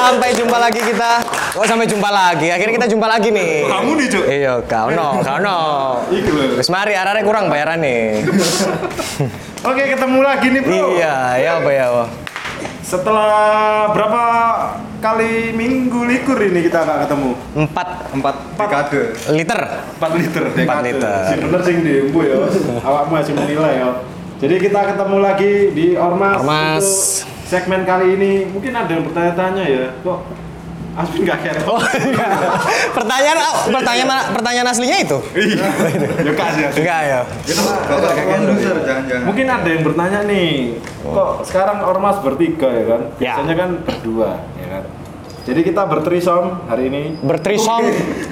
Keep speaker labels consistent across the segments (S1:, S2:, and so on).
S1: lagi kita. Oh sampai jumpa lagi. Akhirnya kita jumpa lagi nih.
S2: Kamu nih, Cuk.
S1: Iya, kau no, kau no.
S2: Iku lho.
S1: Wis mari arare kurang bayaran nih.
S2: Oke, ketemu lagi nih, Bro.
S1: iya, ya apa ya? Wak?
S2: Setelah berapa kali minggu likur ini kita nggak ketemu?
S1: Empat
S3: empat dekade
S1: liter.
S2: 4 liter. dekade.
S1: liter.
S2: Sing bener sing diembu ya. Awakmu masih menilai ya. Jadi kita ketemu lagi di Ormas.
S1: Ormas.
S2: Untuk segmen kali ini mungkin ada yang bertanya-tanya ya, kok Asmin nggak care?
S1: Oh, iya. pertanyaan oh, pertanyaan pertanyaan aslinya itu?
S2: iya. Ya kasih ya.
S1: Enggak ya.
S3: bapak kakek loser jangan-jangan
S2: Mungkin ada yang bertanya nih, kok sekarang ormas bertiga ya kan?
S1: Ya.
S2: Biasanya kan berdua ya kan. Jadi kita bertrisom hari ini.
S1: Bertrisom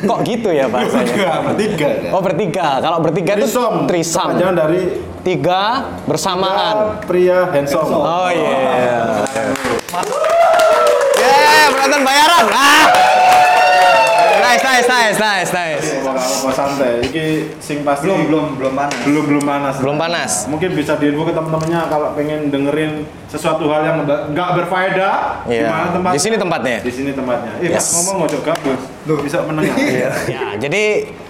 S1: kok gitu ya bahasanya?
S2: Bertiga, bertiga ya.
S1: Oh bertiga. Kalau bertiga itu
S2: Trisom.
S1: trisam.
S2: Jangan dari
S1: Tiga
S2: Iya.
S1: bersamaan.
S2: pria handsome.
S1: Oh iya. Yeah, penonton bayaran. Ah. Nice, nice, nice, nice, nice.
S2: Kalau santai, ini sing pasti
S3: belum belum belum mana
S2: belum belum panas.
S1: Belum panas.
S2: Mungkin bisa diinfo ke teman-temannya kalau pengen dengerin sesuatu hal yang nggak- nggak berfaedah.
S1: Iya.
S2: Gimana tempatnya?
S1: Di sini tempatnya?
S2: Di sini tempatnya. Iya,
S1: Yes.
S2: ngomong ngocok gabus. Loh, bisa menengah.
S1: Ya, jadi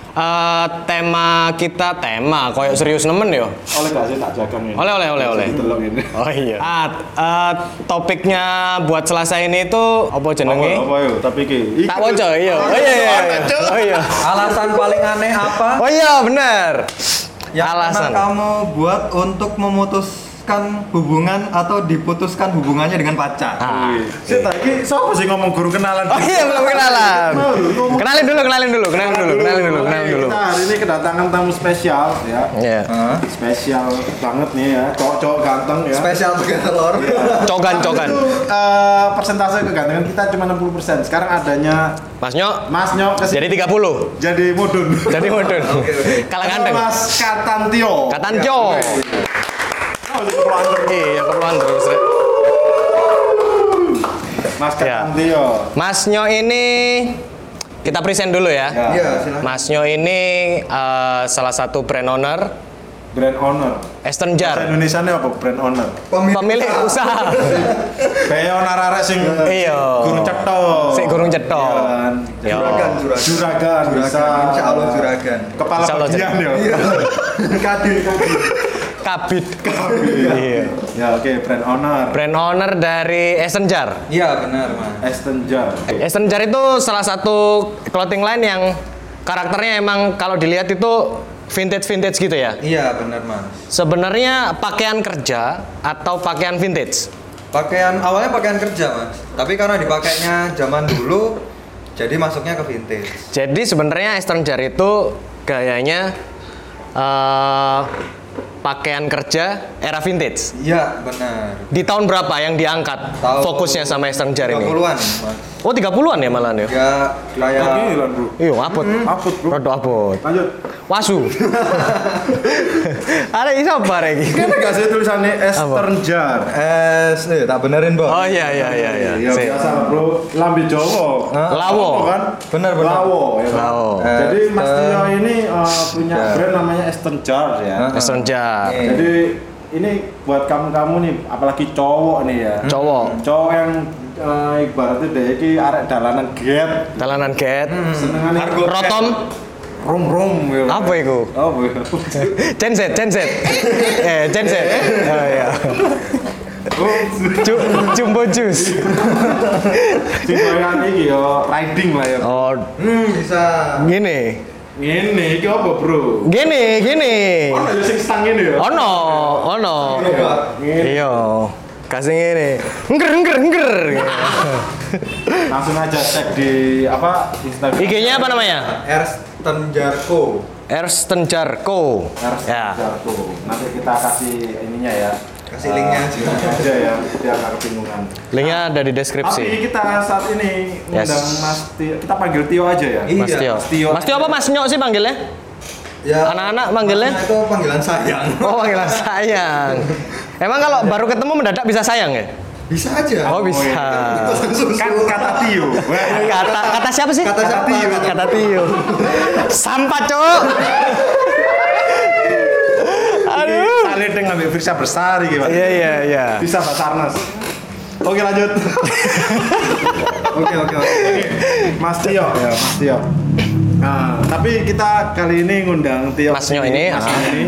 S1: eh, tema kita tema koyok serius nemen yo.
S2: Oleh gak sih tak jagang ini?
S1: Oleh, oleh, oleh, oleh.
S2: Delok ini.
S1: Oh iya. Ah, eh, topiknya buat selasa ini itu apa jenenge?
S2: Apa yo? Tapi ki.
S1: Tak woco, iya. Oh iya, iya, iya. Oh iya.
S3: alasan paling aneh apa
S1: Oh iya, bener.
S3: yang
S1: alasan.
S3: pernah kamu buat untuk memutuskan hubungan atau diputuskan hubungannya dengan pacar
S1: Ah.
S2: Sih tak ki siapa sih ngomong guru kenalan?
S1: Oh iya, belum kenalan.
S2: Ngomong-
S1: Kenalin dulu, kenalin dulu, kenalin dulu, kenalin dulu, kenalin dulu.
S2: Kita hari ini kedatangan tamu spesial ya.
S1: Iya.
S3: Hah?
S2: Spesial banget nih ya, cowok-cowok ganteng ya. Nah,
S3: spesial pakai telur
S1: Cogan, cogan.
S2: Itu eh, persentase kegantengan kita cuma 60%. Sekarang adanya
S1: Mas Nyok,
S2: Mas Nyok kesini
S1: Jadi 30.
S2: jadi mudun.
S1: Jadi mudun.
S3: Oke, oke.
S1: Kalah
S2: Atau
S1: ganteng.
S2: Mas Katantio.
S1: Katanjo.
S2: Oh, itu perlu anter.
S1: Iya, keperluan terus. Rek.
S2: Mas
S1: Iya.
S2: Katantio.
S1: Mas Nyo ini kita present dulu ya.
S2: Ya.
S3: iya silahkan
S1: Mas Nyo ini eh, salah satu brand owner
S2: Brand owner.
S1: Aston Jar.
S2: Bahasa Indonesia apa brand owner?
S1: Pemilik usaha.
S2: Kayak owner arek sing
S1: Iya.
S2: gurung cetok.
S1: Sik gurung cetok.
S2: Iya kan?
S1: Iya.
S3: juragan juragan
S2: Juragan,
S3: Juragan,
S2: bisa.
S3: insya Allah juragan.
S2: Kepala
S1: Insya Allah
S2: bagian ya.
S3: iya kadin kadin
S1: Kabit. Iya.
S2: Ya oke, brand owner.
S1: Brand owner dari Aston Jar.
S3: iya benar mas
S2: Aston Jar.
S1: Aston Jar itu salah satu clothing line yang karakternya emang kalau dilihat itu vintage-vintage gitu ya.
S3: iya benar mas
S1: Sebenarnya pakaian kerja atau pakaian vintage?
S3: pakaian awalnya pakaian kerja mas tapi karena dipakainya zaman dulu jadi masuknya ke vintage
S1: Jadi sebenarnya Eastern Jar itu gayanya eh, pakaian kerja era vintage.
S3: iya benar
S1: Di tahun berapa yang diangkat
S3: Tahu-
S1: fokusnya sama Eastern Jar ini?
S3: 30-an mas
S1: Oh 30-an ya malahan ya?
S3: ya kayak
S2: Lagi lan, Bro.
S1: Iya, abot.
S2: Hmm. Abot, Bro.
S1: Rodo abot.
S2: Lanjut.
S1: Wasu. Ada iso apa Rek?
S2: Kan gak sih tulisannya Aston Jar.
S3: es eh tak benerin bos
S1: Oh iya iya iya iya.
S2: Ya
S1: Sip.
S2: biasa lah, bro, lambe Jawa.
S3: Hah?
S1: Lawo.
S2: Apa kan?
S3: Bener, bener.
S2: Lawo ya. kan?
S1: Lawo.
S2: Jadi Mas
S3: Aston
S2: Tio ini eh, punya
S3: Jar.
S2: brand namanya Aston Jar ya.
S3: Hah?
S1: Eastern Jar.
S3: Nih.
S2: Jadi ini buat kamu-kamu nih, apalagi cowok nih ya.
S1: Cowok.
S2: Cowok yang eh, ibaratnya deh iki arek dalanan get.
S1: Dalanan ket.
S2: Senengane
S1: Rotom.
S2: rum rum ya.
S3: gitu.
S1: Apa itu?
S2: Apa ya?
S1: Genset, genset. Eh, genset. Oh iya. Ju- Jumbo juice.
S2: Sing koyo iki ya riding lah ya.
S1: Oh,
S3: hmm bisa
S1: gini.
S2: Ngene iki apa, Bro?
S1: Gini, gini.
S2: Ono ya sing stang ini ya.
S1: Ono, ono.
S3: coba
S1: Iya. Kasih gini. Ngger, ngger, ngger.
S2: Langsung aja cek di apa Instagram.
S1: IG-nya apa namanya?
S3: Ersten Jarko
S1: Ersten Jarko.
S2: harus
S1: Ya.
S2: jatuh. Nanti kita kasih ininya ya.
S3: Kasih linknya aja.
S2: linknya aja ya, biar nggak kebingungan.
S1: Linknya ada di
S2: Tapi
S1: deskripsi.
S2: kita saat ini ngundang
S1: Yes.
S2: Mas Tio, kita panggil Tio aja ya.
S3: Iya.
S1: Mas Tio.
S2: Mas Tio.
S1: Mas Tio apa Mas Nyok sih panggilnya?
S3: ya
S1: Anak-anak manggilnya?
S3: maksudnya itu panggilan sayang
S1: Oh, panggilan sayang. Emang kalau baru ketemu mendadak bisa sayang ya?
S3: bisa aja
S1: Oh, bisa.
S3: Pesan susu.
S2: Kan kata Tio. Wah.
S1: Kata kata siapa sih?
S3: Kata siapa?
S1: Kata Tio. Sampah, Cuk. Aduh.
S2: Salin dengan Mbak Firsa Bersari gitu.
S1: Iya, iya, iya.
S2: Bisa Basarnas. Oke lanjut.
S3: Oke oke oke.
S2: Mas Tio
S1: Iya,
S2: ya, Mas Tio. Nah, tapi kita kali ini ngundang Tio.
S1: Mas Nyo
S2: kesini,
S1: ini,
S2: Mas
S1: ah.
S2: Nyo ini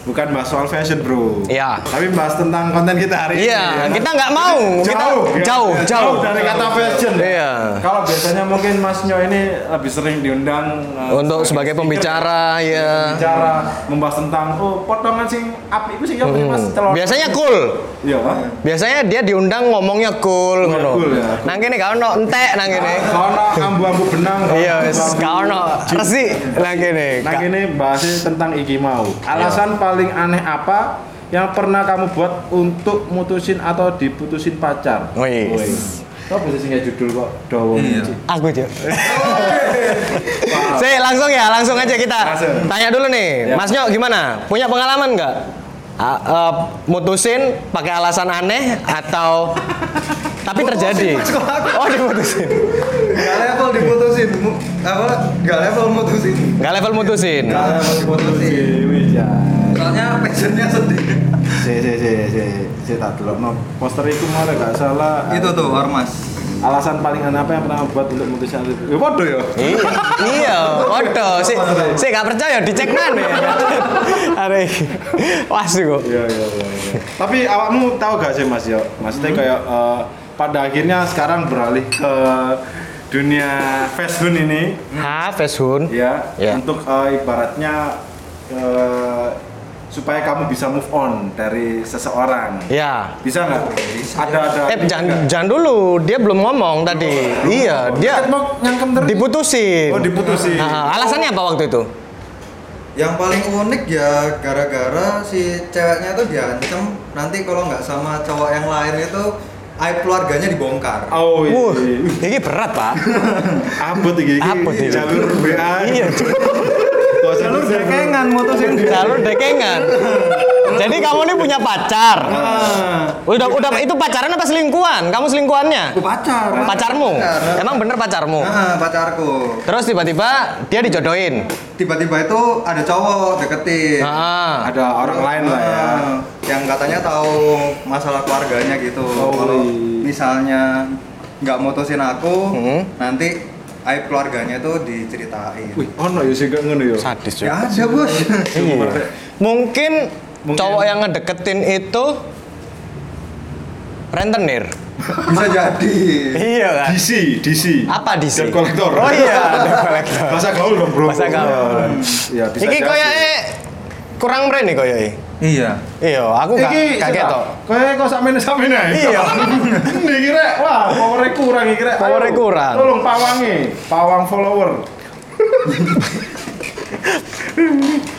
S2: bukan bahas soal fashion, Bro.
S1: Iya.
S2: Tapi bahas tentang konten kita hari ini.
S1: Iya,
S2: ya.
S1: kita nggak mau. Kita
S2: Jauh, ya.
S1: jauh, jauh.
S2: dari kata fashion.
S1: Iya.
S2: Kalau biasanya mungkin Mas Nyo ini lebih sering diundang eh,
S1: Untuk sebagai pembicara ya.
S2: Bicara membahas tentang oh potongan sing api itu sing ya Mas celor.
S1: Hmm. Biasanya cool.
S2: Iya, Pak.
S1: Biasanya dia diundang ngomongnya cool ngono.
S2: cool ya, cool.
S1: Nang kene gak ono entek nang kene.
S2: Karena ambu-ambu benang.
S1: Iya wis
S2: ambu-ambu
S1: gak ono resi nang kene.
S2: Nah
S1: Gak-
S2: ini bahasnya tentang Iki Mau.
S1: Iya.
S2: Alasan paling aneh apa yang pernah kamu buat untuk mutusin atau diputusin pacar?
S1: Wih.
S2: Woi. Kau bisa singgah judul kok. Dawa
S3: Iya.
S2: Ci.
S1: Aku aja. Saya langsung ya, langsung aja kita.
S2: Langsung.
S1: Tanya dulu nih,
S2: Ya.
S1: Mas Nyo gimana? Punya pengalaman nggak? A- eh, mutusin pakai alasan aneh atau tapi terjadi? Oh diputusin.
S3: Gak level diputusin. Mu- Apa? Gak level mutusin.
S1: Nggak level mutusin.
S3: Gak level diputusin.
S2: Si, wih, ya.
S3: Soalnya passionnya sedih.
S2: Si si si si si tak dulu. No poster itu malah gak salah.
S3: Itu tuh ormas.
S2: Alasan paling aneh apa yang pernah kamu buat untuk mutusin? Ya bodoh ya.
S1: Iya, iya, waduh, si, si gak percaya dicek nan ya. Hari, wah sih kok.
S2: Iya iya iya. iya. Tapi awakmu tahu gak sih Mas Yo? Maksudnya
S1: Hmm?
S2: kayak eh, pada akhirnya sekarang beralih ke dunia fashion ini
S1: Ha, Feshun.
S2: ya
S1: Ya.
S2: untuk eh, ibaratnya eh, supaya kamu bisa move on dari seseorang.
S1: Ya.
S2: Bisa nggak? Ada ada.
S1: Eh, jangan, jangan dulu, dia belum ngomong tadi. Iya, dia
S2: Kan mau nyangkem terus.
S1: diputusin.
S2: Oh, diputusin.
S1: Ah, alasannya apa waktu itu?
S3: Yang paling unik ya gara-gara si ceweknya tuh diancam nanti kalau nggak sama cowok yang lain itu aib keluarganya dibongkar.
S2: Oh iya.
S1: Wuh,
S2: iya.
S1: ini berat pak.
S2: Abot iki iki
S1: Abot iki.
S2: jalur BA.
S1: Iya, cuy.
S2: Jalur dekengan mutusin.
S1: jalur dekengan. Jadi kamu ini punya pacar. Udah, udah itu pacaran apa selingkuhan? Kamu selingkuhannya?
S3: Aku pacar.
S1: Pacarmu? Emang bener pacarmu?
S3: Ah, pacarku.
S1: Terus tiba-tiba dia dijodohin.
S3: Tiba-tiba itu ada cowok deketin.
S1: Ah.
S2: Ada orang lain lah ya.
S3: Ah, Yang katanya tahu masalah keluarganya gitu.
S2: Oh,
S3: Kalau
S2: iya.
S3: misalnya nggak mutusin aku,
S1: Hmm.
S3: nanti aib keluarganya itu diceritain.
S2: Wih, ono ya sih gak ngono ya.
S1: sadis cuy.
S3: Ya ada bos.
S1: Iya. Mungkin, cowok yang ngedeketin itu rentenir.
S3: Bisa jadi.
S1: Iya kan?
S2: DC, DC.
S1: Apa di sini?
S2: Debt collector.
S1: Oh iya, debt collector.
S2: Bahasa gaul dong, Bro.
S1: Bahasa gaul.
S2: Iya, bisa.
S1: Iki eh, koyoke kurang brand nih koyoke.
S3: Iya.
S1: Iya, aku gak kaget toh.
S2: Kayak kok sakmene sakmene.
S1: Iya.
S2: Dikira wah, power kurang iki rek.
S1: Power-nya
S2: Ayo,
S1: kurang.
S2: Tolong pawangi, pawang follower.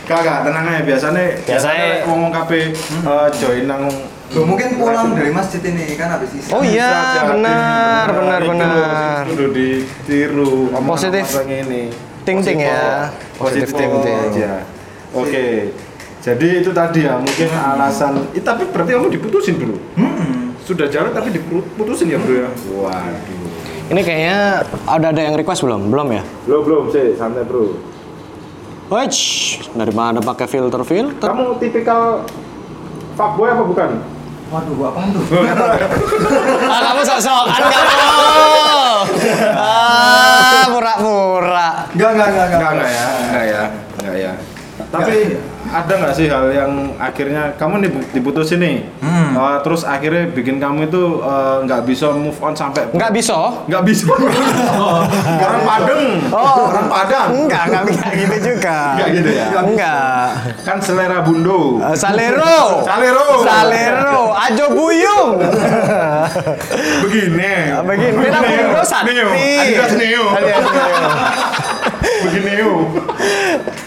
S2: Kakak, tenang aja biasanya
S1: Biasanya-
S2: biasanya ngomong kape eh, join nang
S3: Loh, mungkin pulang dari masjid ini kan habis isi.
S1: Oh iya,
S2: Bisa jadi.
S1: benar, benar,
S2: Itu
S1: benar.
S2: loh, Kudu ditiru omongan
S1: Positif.
S2: orang ini.
S1: Ting-ting ya.
S2: Positif
S1: Positif ting-ting.
S2: aja. Oke. Jadi itu tadi ya mungkin alasan. Eh, tapi berarti kamu diputusin dulu.
S3: Hmm.
S2: Sudah jalan tapi diputusin ya bro ya. Waduh.
S1: Ini kayaknya ada ada yang request belum? Belum ya?
S2: Belum belum sih santai bro.
S1: Wih, dari mana pakai filter filter?
S2: Kamu tipikal fuckboy apa bukan?
S3: Waduh, gua apaan tuh?
S1: ah, kamu sok-sokan kamu. Ah, pura-pura.
S3: Enggak, enggak, enggak, enggak.
S2: Enggak enggak ya. Enggak ya. Enggak ya. Tapi ada nggak sih hal yang akhirnya kamu nih diputusin nih,
S3: Hmm.
S2: Eh, terus akhirnya bikin kamu itu eh, nggak bisa move on sampai
S1: Enggak bisa.
S2: nggak bisa orang Padang
S1: Oh.
S2: orang Padang
S1: Enggak, enggak, enggak gitu juga.
S2: Enggak gitu ya?
S1: Enggak.
S2: kan selera bundo
S1: Eh, Salero.
S2: Salero.
S1: Salero. Ajo Buyung.
S2: begini
S1: Begini, kita bundo sakti.
S2: Neo. Adidas Neo
S1: Adidas Neo.
S2: begini Neo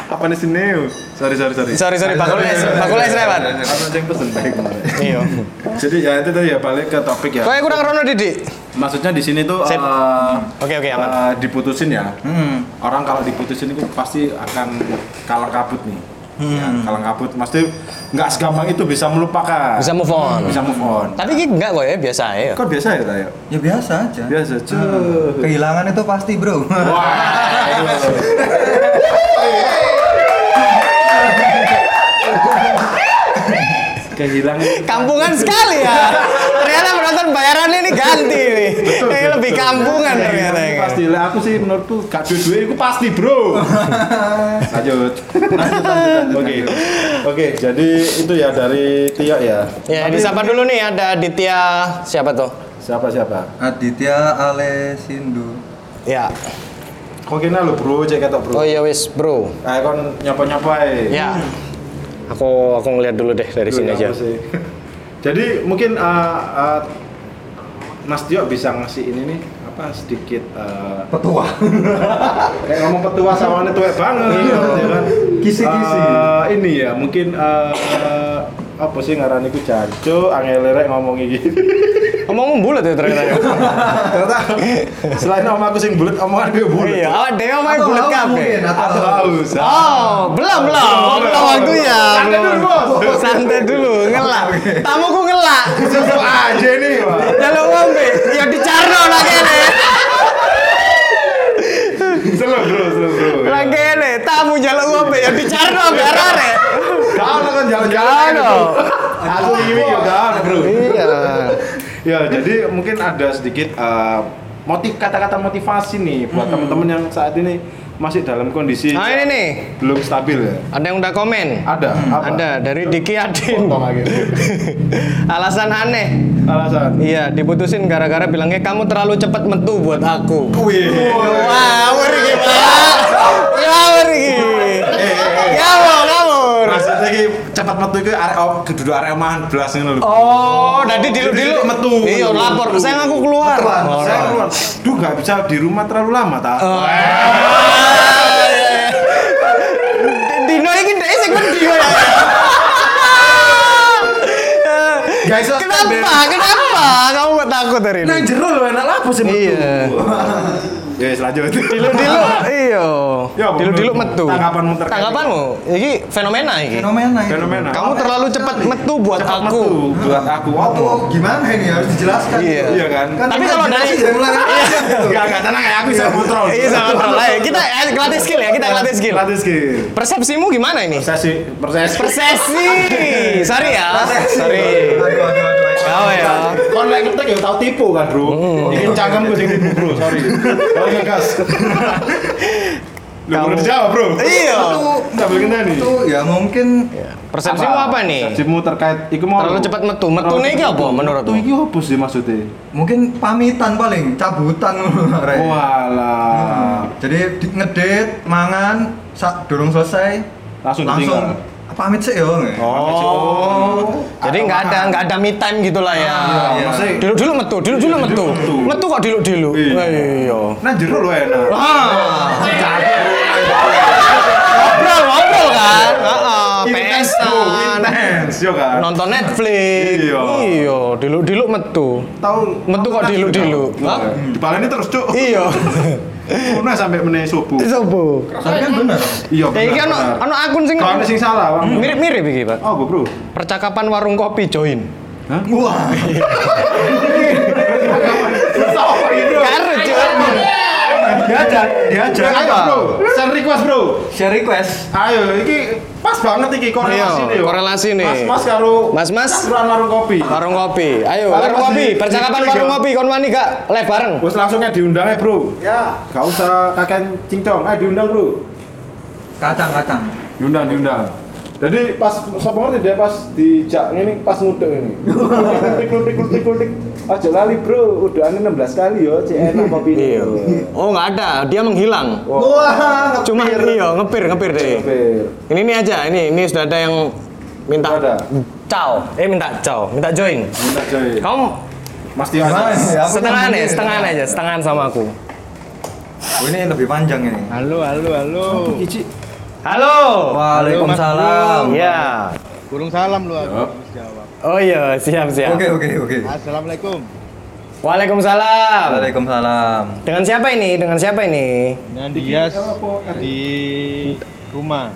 S2: apa nih si Neo sorry sorry sorry
S1: Sorry, sorry, bakul es, bakul es lewat.
S2: Apa yang pesen baik kemarin?
S1: Iya.
S2: Jadi ya itu tadi ya balik ke topik ya.
S1: Kau kurang rono Didik.
S2: Maksudnya di sini tuh
S1: Sip.
S2: eh,
S1: Oke, oke, aman.
S2: eh, diputusin ya.
S3: Hmm.
S2: orang kalau diputusin itu pasti akan kalang kabut nih
S1: Hmm.
S2: ya, kalang kabut maksudnya nggak segampang itu bisa melupakan
S1: Bisa move on.
S2: bisa move on
S1: Tapi ini enggak kok ya biasa ya.
S2: kok biasa ya Tayo?
S3: Ya biasa aja.
S2: biasa Oh. cuy
S1: Hmm.
S3: Kehilangan itu pasti, Bro.
S2: wah yang hilang itu.
S1: Kampungan sekali ya. Ternyata penonton bayaran ini ganti nih. Ini lebih kampungan
S2: Yang hilang
S1: ternyata. ya.
S2: itu Iya, pasti lah aku sih menurutku gak duit-duit itu pasti bro lanjut oke oke jadi itu ya dari Tio ya
S1: Ya, disapa dulu nih ada Ditya siapa tuh?
S2: siapa siapa
S3: Aditya Alesindo
S1: Ya.
S2: kok kena lu bro cek ketok bro
S1: Oh iya wis, Bro.
S2: ayo kon nyopo-nyopo ae
S1: Ya. Aku aku ngeliat dulu deh dari
S2: Duh,
S1: sini aja.
S2: ya apa sih? Jadi mungkin uh, uh, Mas Tio bisa ngasih ini nih apa sedikit uh,
S3: Petua
S2: kayak ngomong petua sawangannya tuwek banget
S3: Iya.
S2: ya kan?
S3: Kisi-kisi.
S2: Uh, ini ya mungkin uh, uh, apa sih ngarani ku jancu angel rek ngomong iki.
S1: Omong bulat ya ternyata. ya.
S2: Ternyata selain om aku sing bulet omongan gue bulet.
S1: Iya, awak dhewe main
S3: Atau
S1: bulat
S3: haus
S1: kabeh.
S3: mungkin,
S2: Atau haus.
S1: Oh, belum belum, belum waktunya.
S2: Santai dulu,
S1: Belum.
S2: Bos.
S1: Santai dulu, ngelak. Tamuku ngelak.
S2: Tutup aja nih, Pak.
S1: Jaluk ngombe, ya dicarno lah kene.
S2: Slow, bro, slow, bro.
S1: Lah kene, tamu jaluk ngombe ya dicarno biar arek.
S2: Gak ada kan jalan-jalan.
S1: Kan.
S2: Aku ini ya gak ada, bro.
S1: Iya.
S2: Ya, jadi mungkin ada sedikit eh, motif kata-kata motivasi nih buat teman-teman yang saat ini masih dalam kondisi
S1: Nah, ini nih.
S2: belum stabil ya.
S1: Ada yang udah komen?
S2: Ada, apa?
S1: Ada dari Diki Adin.
S2: Potong lagi.
S1: Alasan aneh.
S2: Alasan.
S1: Iya, diputusin gara-gara bilangnya kamu terlalu cepat mentu buat aku.
S2: Wih.
S1: Ngawur iki, Pak. Eh, Ngawur iki. Ngawur, ngawur.
S2: Maksudnya ki cepat metu iki arek duduk arek omahan belas ngono lho.
S1: Oh, tadi dilu-dilu
S2: metu.
S1: Iya, lapor. Sayang aku keluar.
S3: Keluar.
S1: Oh,
S2: Saya
S1: right.
S2: keluar. Duh, gak bisa di rumah terlalu lama ta.
S1: Oh. Dino ini dia sing wedi ya.
S2: Guys,
S1: Kenapa? Kenapa? Kamu gak takut hari ini?
S2: jero lho Nah, enak lapo sih
S1: Iya.
S2: Ya, wis, lanjut.
S1: Dilu-dilu, iyo.
S2: Ya, apa
S1: Dilu-dilu
S2: menurutmu?
S1: metu.
S2: Tanggapanmu terkait-
S1: Tanggapanmu? Iki fenomena iki.
S3: Fenomena itu
S2: Fenomena. Iya.
S1: Kamu terlalu cepat metu buat
S2: Cepat
S1: aku.
S2: metu buat aku.
S3: Apa gimana ini harus dijelaskan
S1: Iya.
S3: gitu.
S2: Iya kan?
S3: Kan
S1: Tapi
S3: kita
S1: kalau Iya. dari-
S3: jelasin dari mulai gitu.
S2: Enggak, enggak tenang ya, aku bisa kontrol.
S1: Iya, sangat terlalu. Kita eh, ngelatih skill ya, kita ngelatih skill.
S2: Latih skill.
S1: Persepsimu gimana ini?
S2: Saya sih persepsi.
S1: Persepsi. Sorry ya.
S3: Persepsi.
S1: Sorry.
S3: Aduh, aduh, aduh, aduh. Iya.
S1: Kau ya.
S2: Kon lek ngetek ya tau tipu kan,
S1: Oh.
S2: Bro. Ini cangkem gue sing tipu, Bro. Sorry. Oke, Gas. Lu baru dijawab, Bro.
S1: Iya.
S2: Sambil kena nih.
S3: Itu ya mungkin
S1: Persepsimu apa nih?
S2: Persepsimu terkait iku mau
S1: Terlalu cepat metu. Metu
S2: Terlalu
S1: nih iki
S2: cepat
S1: apa
S2: metu.
S1: menurutmu?
S2: Metu iki apa sih maksudnya?
S3: mungkin pamitan paling cabutan
S1: Eh.
S3: Rek.
S2: Oh, Walah.
S3: Jadi di- ngedate, mangan, sak durung selesai
S2: Langsung
S3: langsung pamit sih yo.
S2: Oh.
S1: Jadi nggak ada nggak ada me time gitulah ya.
S3: Ah, iya.
S2: Maksudnya
S1: Dulu dulu metu, dulu dulu metu.
S2: Iya, metu.
S1: Metu kok dulu dulu.
S2: Iya.
S1: Iya.
S2: Nah jeruk lo enak.
S1: Ah, ngobrol ngobrol kan. Heeh,
S2: Iya. Intens, bro, intens, yo kan.
S1: Nonton Netflix.
S2: Iya.
S1: Iya, dulu dulu metu.
S2: Tahu
S1: Metu kok dilu-dilu. Hah?
S2: Dipaleni terus, Cuk.
S1: Iya.
S2: Ono sampai meneh subuh.
S1: Sopo?
S3: Tapi kan bener.
S2: Iya,
S1: Ya iki ono
S2: benar.
S1: ono akun sing Hmm.
S2: Kalau ada sing salah, Bang.
S1: mirip-mirip iki, Pak.
S2: Oh, Bro.
S1: Percakapan warung kopi join.
S3: Wah.
S2: Apa ini, Bro?
S1: Karena join.
S2: Iya. Diajak, diajak.
S1: Apa?
S2: Ayo, Bro. Share request, Bro.
S3: Share request.
S2: Ayo, iki pas banget iki korelasi
S1: Iya,
S2: nih. yo.
S1: korelasi nih.
S2: Mas-mas karo
S1: Mas-mas.
S2: campuran warung kopi.
S1: Warung kopi, ayo
S2: Warung
S1: warung kopi,
S2: kopi.
S1: percakapan warung kopi, kon wani gak live bareng?
S2: Wes langsungnya diundang ya, Bro. Ya, gak usah kakek cincong. Ayo diundang, Bro.
S3: Kacang-kacang.
S2: diundang diundang jadi pas sapa ngerti dia pas dijak ini pas ngudek ini tik tik tik tik aja lali bro udah 16 kali yo cek enak kopi ini
S1: Iya. Oh nggak ada, dia menghilang.
S3: Wah.
S1: Cuma iya ngepir ngepir deh.
S2: Ngepir.
S1: Ini ini aja, ini ini sudah ada yang minta
S2: Sudah ada.
S1: cao, eh minta cao, minta join.
S2: Minta coy
S1: Kamu
S2: Mas Tio aja
S3: Gimana ya? Aku
S1: setengahan
S3: sendiri.
S1: ya, setengahan aja, setengahan sama aku.
S3: Oh, ini lebih panjang ini.
S1: Halo, halo, halo. Halo.
S3: Waalaikumsalam.
S1: Ya.
S4: Burung salam lu
S2: Yup.
S4: aku harus jawab.
S1: Oh iya, siap siap.
S3: Oke oke oke.
S4: Assalamualaikum.
S1: Waalaikumsalam.
S3: Waalaikumsalam.
S1: Dengan siapa ini? Dengan siapa ini?
S4: Dengan Dias di rumah.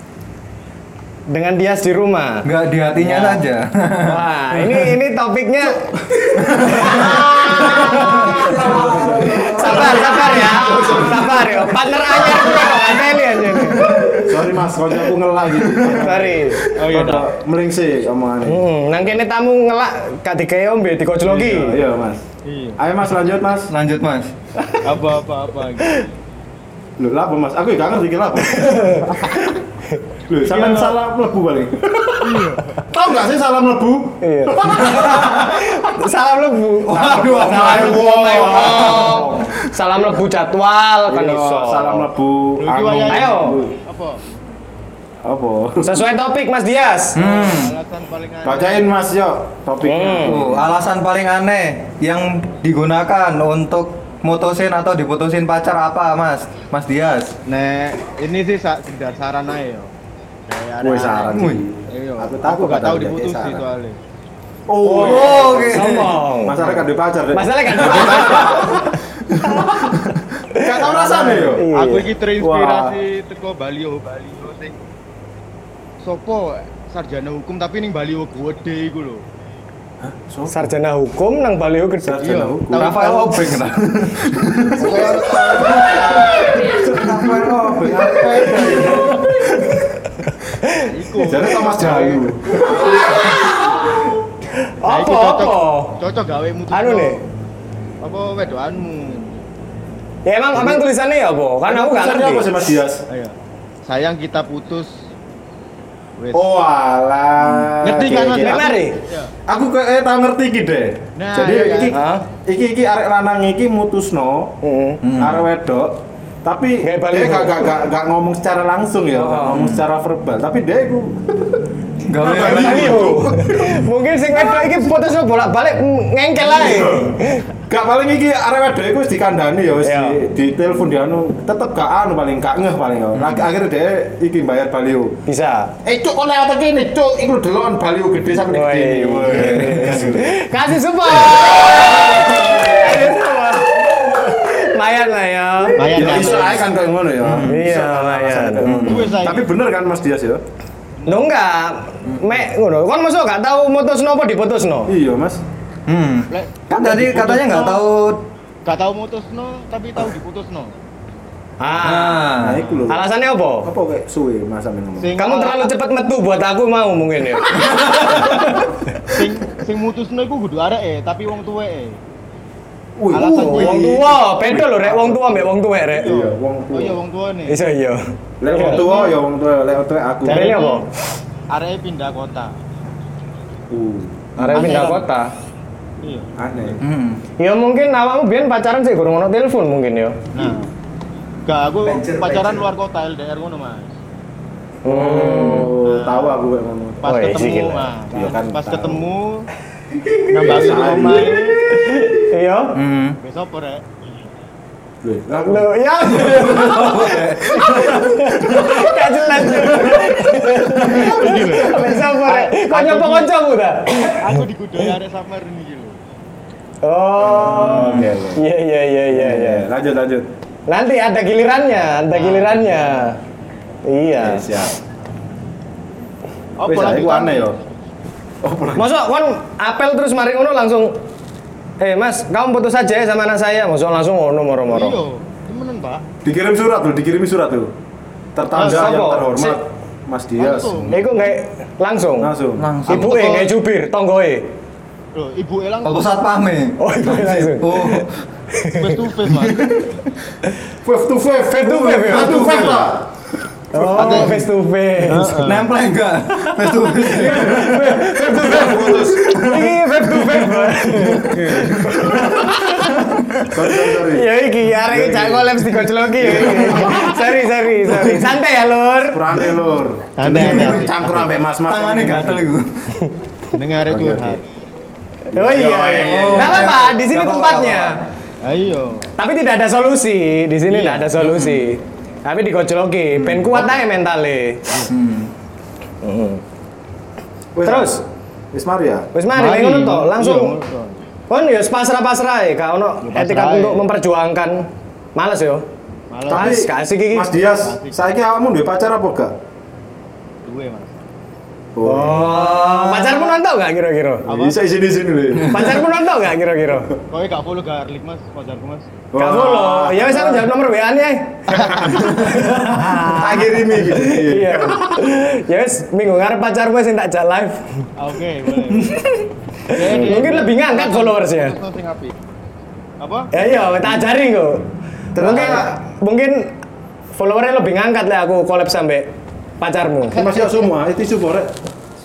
S1: Dengan Dias di rumah.
S3: Enggak di hatinya saja.
S1: Wah, ini ini topiknya sabar sabar ya sabar ya partner anyar gue dong Anteli aja nih
S2: Sorry mas, kalau aku ngelak gitu.
S1: sorry
S4: Oh iya,
S2: Rada Melingsik omongannya.
S1: hmm, nang kene tamu ngelak gak dikei ombe dikojloki
S2: Iya, Iya mas.
S4: Iya.
S2: Ayo mas lanjut mas.
S3: Lanjut mas.
S4: Apa apa apa. gitu.
S2: Lho, lapo mas? Aku ya gak ngerti kenapa. Lho, sampean
S4: Iya.
S2: salah mlebu paling. Tau gak sih salah mlebu?
S1: iya salam lebu
S2: Waduh,
S1: salam lebu
S2: wow.
S1: salam lebu jadwal kan
S2: Iya,
S1: iso
S2: salah mlebu.
S4: Lu
S2: anu.
S4: iki wayahe.
S1: Ayo.
S4: Apa?
S2: Apa?
S1: sesuai topik Mas Dias
S2: Hmm.
S3: Hmm.
S4: Alasan paling aneh.
S2: Bacain mas yo
S1: Hmm.
S2: topiknya. Oh,
S3: Tuh, alasan paling aneh yang digunakan untuk mutusin atau diputusin pacar apa mas? Mas Dias.
S4: Nek, ini sih sa- sekedar saran aja yo. Kayak
S2: Woi
S4: ada-
S2: saran sih.
S4: Iya.
S2: Aku
S4: Aku
S2: takut
S4: gak
S2: kata
S4: tahu
S2: udah kayak
S4: diputusin
S2: saran.
S4: soalnya.
S2: Oh,
S3: oke.
S1: sombong
S2: masalah kan pacar deh.
S1: masalah kan
S2: Gak tau rasanya yo.
S1: Iya.
S4: Aku iki terinspirasi teko Balio Balio oh, sing sopo sarjana hukum tapi ning Balio gede iku lho.
S1: sarjana hukum nang baliho gede
S2: Sarjana hukum.
S4: tahu-
S3: Rafael
S4: tahu-
S3: Obeng kenapa? Rafael Obeng.
S4: Iku.
S2: Jadi Thomas Jayu.
S4: Nah, iku
S1: apa
S4: cocok-
S1: apa
S4: Cocok gawe mutus.
S1: anu nih
S4: Apa wedoanmu?
S1: ya emang emang tulisannya ya apa kan aku gak
S2: Tulisannya apa
S1: ngerti
S2: sih mas Dias?
S4: Ayo. Sayang kita putus. Wes.
S2: Oh alah.
S4: Ngerti kan,
S2: Oke,
S4: Mas?
S2: oke.
S1: ini mari
S4: Iya.
S2: Aku kayak tau ngerti iki deh.
S4: Nah,
S2: Jadi
S4: iya kan?
S2: iki
S1: Hah?
S2: iki iki arek lanang iki mutusno
S1: Heeh.
S2: arek wedok tapi
S1: Nggak
S2: dia
S1: Hmm. balik.
S2: gak, gak, gak, gak ngomong secara langsung ya, gak ngomong secara verbal tapi dia itu
S3: Gawe
S1: Baliho. Mungkin sing wedok iki fotonya bolak-balik mm, ngengkel ae.
S2: gak paling iki arek wedok itu wis dikandani ya, wis
S1: Iya.
S2: di, di telepon dia anu tetep gak anu paling gak ngeh paling ya
S1: Hmm.
S2: Lagi- akhirnya dia iki bayar baliho
S1: Bisa.
S2: eh cuk kok lewat iki nih cuk iku delokan baliho gede sampe gede
S1: Woi.
S2: nih Woi. Iya.
S1: Kasih support. Mayan lah ya.
S4: Bayar
S2: ya iso ae kan
S4: kan.
S2: kayak ngono ya
S1: Iya, mayan.
S4: Wes ae.
S2: tapi bener kan Mas Dias ya
S1: Lo enggak mek ngono. Kon mosok gak tahu mutusno apa diputusno?
S2: iya Mas
S3: Hmm.
S4: Lek,
S3: Kan tadi katanya nggak tahu.
S4: gak tahu mutusno tapi tahu diputusno.
S1: Ah.
S3: Nah,
S2: nah iku lho
S1: Alasannya apa?
S2: apa kayak suwe Mas sampe ngomong
S4: Sing
S1: Kamu terlalu cepat metu buat aku mau mungkin ya.
S4: sing sing mutusno iku kudu arek e, tapi wong tuwek e.
S2: Wih,
S4: Alasan
S2: wih.
S4: gue.
S1: Wong tua, beda lho rek wong tua mbek wong tuwek rek.
S2: Iya, wong
S4: Oh iya
S2: tua.
S4: wong tuwene.
S1: Iso iya.
S2: Lek wong tua ya wong tua, lek wong tua aku.
S1: Dari apa?
S4: Arek e pindah kota.
S2: Uh,
S1: Arek pindah kota.
S4: Iya.
S2: aneh.
S3: Hmm.
S1: Ya mungkin awakmu biyen pacaran sih kurang ono telepon mungkin ya.
S4: Nah. Gak aku
S3: Venture, venture.
S4: pacaran luar kota LDR ngono, Mas.
S2: Oh, tahu aku kayak ngono.
S4: Pas
S1: Oh, iya, sih,
S4: ketemu,
S1: gila.
S4: Mas.
S2: Iya kan,
S4: Pas
S2: tahu.
S4: ketemu nambahi
S2: Iya,
S4: rumah.
S2: iya.
S1: Iya.
S3: Hmm.
S4: Besok apa, Rek?
S2: Lho, lah,
S1: Lo ya. Gak jelas. Bisa pare. Kok nyopo kancamu ta?
S4: Aku digudoi arek gitu. summer iki lho.
S1: Oh.
S2: Oke, oke.
S1: Iya iya iya iya iya.
S2: Ya, lanjut lanjut.
S1: Nanti ada gilirannya, ada gilirannya. Iya.
S2: Ya, siap. Wis
S4: Apa
S2: aku
S4: lanjutan?
S2: aneh yo. Oh, pulang.
S1: Masuk kon apel terus mari ngono langsung Eh mas, kamu putus aja ya sama anak saya. Masuk langsung ngono
S4: Iya,
S1: moro-moro.
S4: temenan, Pak.
S2: Dikirim surat tuh, dikirimi surat tuh. Tertanda
S1: Mas,
S2: yang
S1: apa?
S2: terhormat,
S1: Si-
S2: Mas Dias.
S4: Langsung.
S1: Eh kok nggak langsung?
S2: Langsung.
S3: Langsung.
S1: Ibu eh nggak jubir, eh. tonggoe.
S4: Lho, ibu e langsung
S3: Kalau satpam
S1: Oh,
S2: iya,
S1: ibu e langsung.
S3: Oh.
S4: face to face, Mas.
S2: Five to five,
S1: Five to five, ya?
S2: five to five lah.
S1: Oh, face to face.
S3: Nempel enggak? Face to face.
S1: Iki face to face. Bro.
S2: Sorry, sorry, sorry.
S1: Ya iki arek iki cak kolem di gojloki. ya, iki. Sorry, sorry, sorry. Santai ya, Lur.
S2: Kurane lur.
S4: Santai, santai.
S2: Campur ambek mas-mas.
S3: Tangannya gatel itu.
S4: Dengar
S2: Oke,
S4: itu.
S2: oke.
S1: Oh iya. iya. Nggak apa-apa, di sini
S3: Nggak apa-apa,
S1: tempatnya.
S3: nggak
S4: Ayo.
S1: Tapi tidak ada solusi. Di sini tidak ada solusi. Tapi digojloki, ben kuat ae mentale.
S2: Wis,
S1: Terus?
S2: Wis ya. Maria.
S1: Wis mari lek ngono to, langsung.
S4: Iya, ngono.
S1: Kon ya pasrah-pasrah ae, gak ono
S4: Ya, pasrah
S1: etikat
S4: ae.
S1: untuk memperjuangkan. Males yo.
S4: Malah
S2: Tapi
S1: Mas, kasih gigi.
S2: Mas Dias, saiki awakmu duwe pacar apa gak?
S4: duwe, Mas.
S1: Oh, pacarmu nonton nggak kira-kira?
S2: Bisa Oh, sini sini lho.
S1: Pacarmu nonton nggak kira-kira?
S4: Kowe gak follow garlic mas, pacarku mas.
S1: Gak follow. Ya wes aku jawab nomor WA nih.
S2: Akhir ini gitu.
S1: Iya. Ya wes minggu ngarep pacarmu sing tak jak live.
S4: Ah, Oke, boleh. Oke,
S1: Mungkin lebih ngangkat followersnya.
S4: Terus sing apik. Apa?
S1: Ya iya, tak ajari kok. Mungkin mungkin followernya lebih ngangkat lah aku collab sampai pacarmu.
S2: Masih semua, itu semua rek.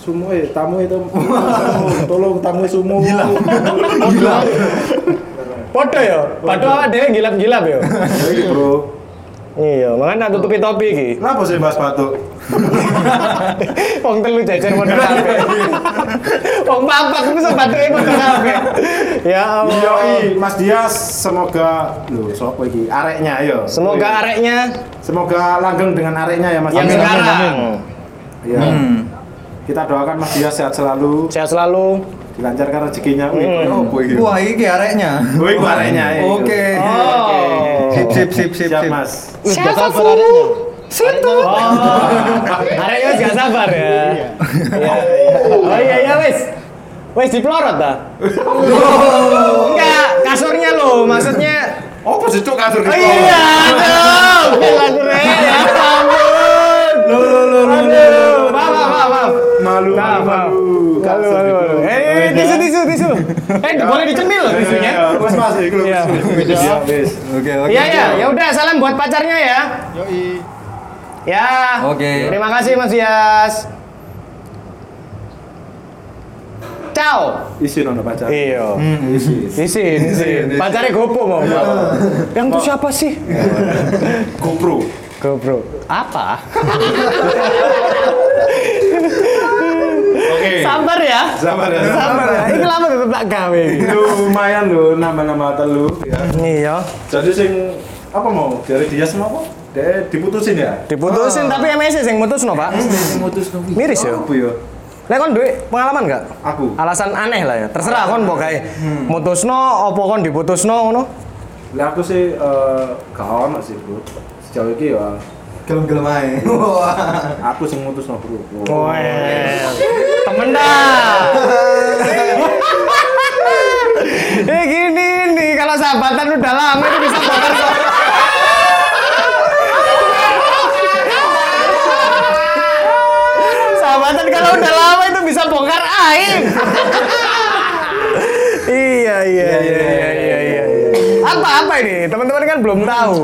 S2: Semua eh tamu itu tolong tamu semua. Gila. Gila.
S1: Podo yo, podo awak ya? dhewe gilap-gilap yo.
S2: Iki, Bro.
S1: Iya, makanya aku tutupi topi iki.
S2: Kenapa sih Mas Patuk?
S1: Wong telu jajar modal kabeh. Wong papat ku sepatuke modal kabeh. Ya
S2: Yo,
S1: Allah.
S2: Iya, Mas Dias, semoga lho sapa iki? Areknya ayo.
S1: Semoga areknya
S2: Semoga langgeng dengan areknya ya Mas.
S1: yang
S2: Dias.
S1: sekarang
S2: Iya. Kita doakan Mas Dias sehat selalu,
S1: sehat selalu.
S2: dilancarkan rezekinya. Wih,
S1: Hmm.
S2: kok opo iki?
S3: Wah, ini areknya.
S2: Wih, kok areknya. iya.
S3: Oke.
S1: Oh.
S3: Sip, sip, sip, sip,
S2: Siap,
S3: sip.
S2: Mas.
S1: Siapa Fu? Situ. Areknya wis gak sabar ya. Oh. Iya. Oh iya iya wis. Wis diplorot ta? Enggak, kasurnya lo maksudnya
S2: Oh, pas itu kasur
S1: Oh iya, aduh, gila gue, ya ampun.
S2: Lo lo lo lo.
S1: Aduh, maaf, maaf, maaf.
S2: Malu,
S1: Nah, maaf.
S2: malu.
S1: Malu,
S2: Kasur
S1: malu,
S2: itu.
S1: malu. Eh, tisu, tisu, tisu. Eh, boleh dicemil loh tisunya.
S2: Iya, iya. Mas, Mas, iku lho.
S1: Iya.
S2: Iya, wis.
S3: Oke, oke.
S1: Iya, iya, ya udah salam buat pacarnya ya.
S4: Yoi.
S1: Ya.
S3: Oke.
S1: Terima kasih Mas Yas. Ciao.
S2: Isin ono pacar.
S1: Iya.
S2: Isin.
S1: Isin, isin. Pacarnya gopo mau. Yang itu siapa sih?
S2: GoPro.
S1: Gopro. Apa?
S2: Oke.
S1: Sabar ya.
S2: Sabar ya.
S1: Sabar ya. Ini lama tetep tak gawe.
S2: Itu lumayan loh nama-nama telu ya.
S1: Iya.
S2: Jadi sing apa mau dari dia semua apa? Dia diputusin ya?
S1: Diputusin tapi MSC yang mutus no, Pak. Miris ya.
S2: Aku ya.
S1: Lek kon duwe pengalaman gak?
S2: Aku.
S1: Alasan aneh lah ya. Terserah kon mbok kae. Mutusno opo kon diputusno ngono?
S2: Lah aku sih eh gak ono sih, Bro. Sejauh ini ya
S3: Gelem-gelem aja. Wah.
S2: aku sing mutus no, Bro.
S1: Oh, iya. Well. Temen dah. eh gini nih kalau sahabatan udah lama itu bisa bakar so- Sahabatan kalau udah lama itu bisa bongkar aib. iya iya iya iya iya iya. Apa apa ini? Teman-teman kan belum tahu.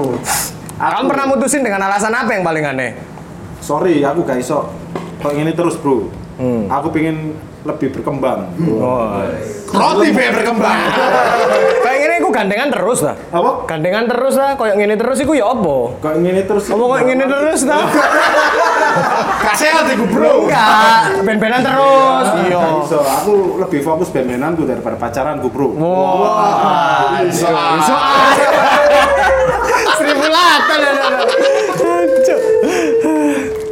S1: Kamu pernah mutusin dengan alasan apa yang paling aneh?
S2: Sorry, aku gak iso. Kok ini terus, Bro. Aku pengen lebih berkembang.
S1: Hmm. Oh.
S2: Roti be berkembang.
S1: Kayak gini aku gandengan terus lah.
S2: apa?
S1: Gandengan terus lah, kayak gini terus iku ya opo?
S2: Kok ini terus?
S1: Apa Oh, kayak gini terus ta?
S2: Gak sehat iku, Bro.
S1: Enggak, ben-benan terus. Iya.
S2: Gak iso, aku lebih fokus band-bandan tuh daripada pacaran Bro.
S1: Wah, iso. Iso. Seribu latan ya.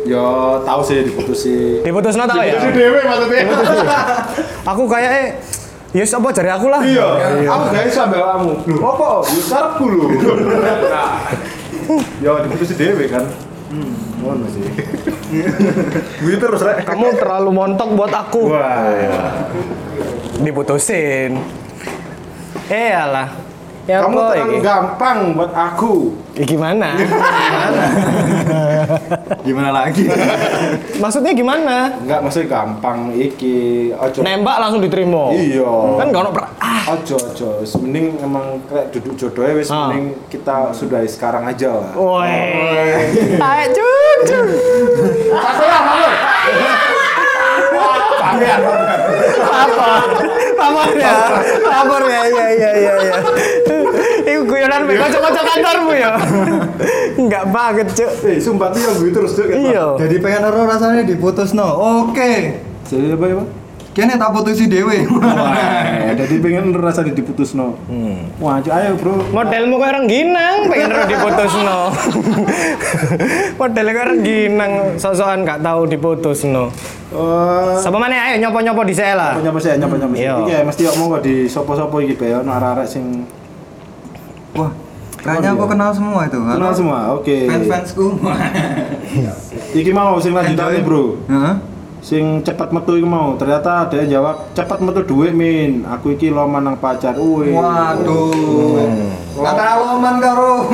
S2: Ya tahu sih diputusi.
S1: Diputus no tau ya?
S2: dewe maksudnya.
S1: Aku kayaknya Ya yes, apa jari aku lah.
S2: Iya, aku gak iso ambek kamu. Lho, apa? Ya karepku lho. Nah. Ya diputusi dewe kan. Ngono sih. Iya. Gue terus rek.
S1: Kamu terlalu montok buat aku.
S2: Wah. ya.
S1: Diputusin. Eh lah. Ya
S2: Kamu
S1: apa
S2: terlalu
S1: iki?
S2: gampang buat aku.
S1: Ya gimana?
S3: Gimana lagi?
S1: Maksudnya gimana?
S2: Enggak, maksudnya gampang iki. Ojo.
S1: Nembak langsung diterima.
S2: Iya.
S1: Kan gak ono pra- ah.
S2: Ojo, ojo. Mending emang kayak duduk jodohnya wis
S1: Ah.
S2: mending kita sudahi sekarang aja lah.
S1: Woi. Ayo cucu. Lapor. Lapor ya. Lapor ya. Iya iya iya iya. Iku guyonan mek kocok-kocok kantormu ya. Enggak banget, Cuk.
S2: Eh, sumpah tuh yang gue terus ya, tuh.
S1: Iya.
S3: Jadi pengen ero rasanya diputus no. Oke.
S2: Jadi apa ya, Pak?
S3: Kene tak putusi dhewe.
S2: Wah, jadi pengen rasanya diputus no.
S1: Hmm.
S2: Wah, cu- ayo bro.
S1: Modelmu kayak orang ginang, pengen roh diputusno. Modelnya kayak orang ginang, sosokan gak tahu diputusno.
S2: Eh,
S1: Sapa mana ayo nyopo-nyopo di lah.
S2: nyapa sih, nyapa nyapa sih.
S1: Iya.
S2: Iki ya, mesti mau nggak di sopo-sopo iki bae ono arek-arek sing
S3: Wah, kayaknya aku kenal semua itu.
S2: kenal semua. Oke.
S3: Fans-fansku.
S2: Iki mau sing lanjutan
S3: Enjoy.
S2: nih, Bro.
S3: Heeh.
S2: sing cepat metu iku mau ternyata ada yang jawab cepat metu duit min aku iki loman nang pacar uwe
S3: Waduh. Antara loman karo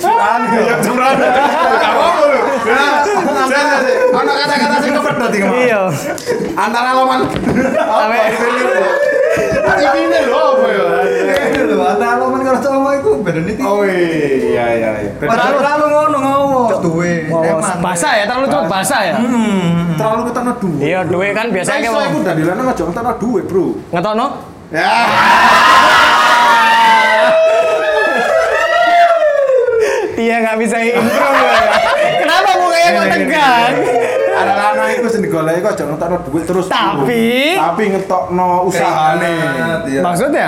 S3: Curan ya curan. Gak apa-apa Ya, lho. Ana kata-kata sing kepedot iki. Mas.
S1: Iya.
S3: Antara loman apa
S2: ini lho apa ya
S3: Ini lho, antara loman karo cowok iku bedane tipis.
S2: oh iya iya iya
S3: Padahal terlalu ngono ngomong. Duwe. Eman.
S1: Basah ya, terlalu cepat basah ya.
S2: terlalu ketana duit
S1: Iya, duit kan biasanya
S2: Saya Ya.
S1: kayak
S2: iku
S1: mau
S2: dari lanang aja ketana duit bro
S1: ngetokno. Iya nggak bisa improve ya. Kenapa mukanya kok tegang?
S2: ada lanang iku sing digoleki kok aja ngetokno duit terus bro.
S1: Tapi-
S2: tapi ngetokno usahane
S3: Keringat, iya.
S1: Maksudnya?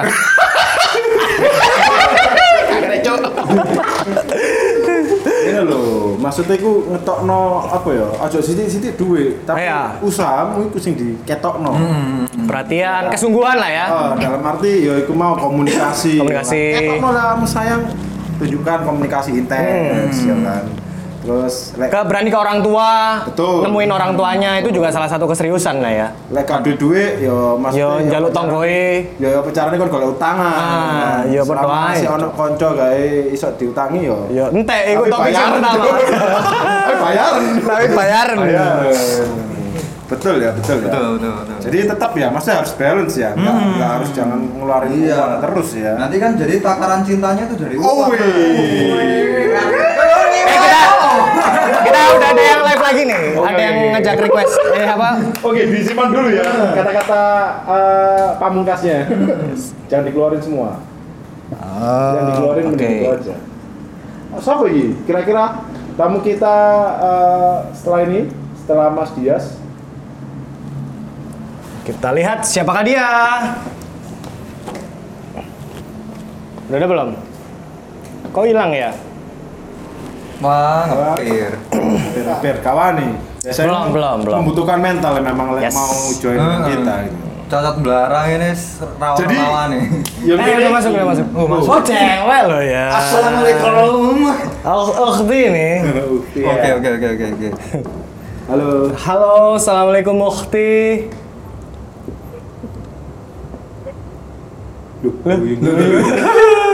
S2: ini lho maksudnya iku ngetokno apa ya aja sithik-sithik duit tapi
S1: Iya.
S2: usahamu iku sing diketokno
S1: Perhatian, kesungguhan lah ya.
S2: Oh, dalam arti ya itu mau komunikasi.
S1: Komunikasi.
S2: Ya, Kalau lah kamu sayang tunjukkan komunikasi intens
S1: Hmm.
S2: ya kan. Terus lek
S1: Ke berani ke orang tua,
S2: Betul.
S1: nemuin orang tuanya itu juga salah satu keseriusan lah ya.
S2: lek kado duit ya maksudnya
S1: Yo
S2: ya
S1: jaluk
S2: pacaran-
S1: tonggoe.
S2: Ya ya pacarane kon golek utangan.
S1: Ah,
S2: kan.
S1: ya
S2: Selama
S1: berdoa ae.
S2: Masih ono kanca gawe iso diutangi ya.
S1: Yo entek iku
S2: Tapi
S1: topik sing
S2: bayaran.
S1: pertama.
S2: Eh, bayaran.
S1: Tapi bayaran.
S2: Bayaran. Betul ya, betul ya.
S3: Betul, betul, betul.
S2: Jadi tetap ya, masih harus balance ya. Nggak,
S1: Hmm.
S2: nggak harus jangan ngeluarin
S3: Iya.
S2: uang terus ya.
S3: Nanti kan jadi takaran cintanya tuh dari
S2: Oh,
S3: uang.
S1: Eh kita kita udah ada yang live lagi nih. Ada yang ngejak request. Eh apa?
S2: Oke, disimpan dulu ya kata-kata eh, pamungkasnya. Jangan dikeluarin semua. Jangan dikeluarin
S1: Ah, oke.
S2: mending itu aja. Oh, Siapa ini? Kira-kira tamu kita eh, setelah ini, setelah Mas Dias.
S1: Kita lihat siapakah dia. Udah ada belum? Kau hilang ya?
S3: Wah, ngepir.
S2: Biar kawan nih. Biasanya
S1: Belum, belum, belum.
S2: Membutuhkan mental yang memang
S1: Yes. Ah.
S2: mau join
S3: Hmm.
S2: kita. gitu.
S3: Cacat belarang ini s- rawan-rawan nih.
S2: Yang
S1: Eh, udah masuk, udah masuk.
S3: Oh, masuk.
S1: Oh, cewek lo ya.
S3: Assalamualaikum.
S1: Ukhti nih.
S2: Oke.
S3: Oke, oke, oke, oke, oke.
S2: Halo.
S1: Halo, Assalamualaikum Ukhti.
S2: Duh,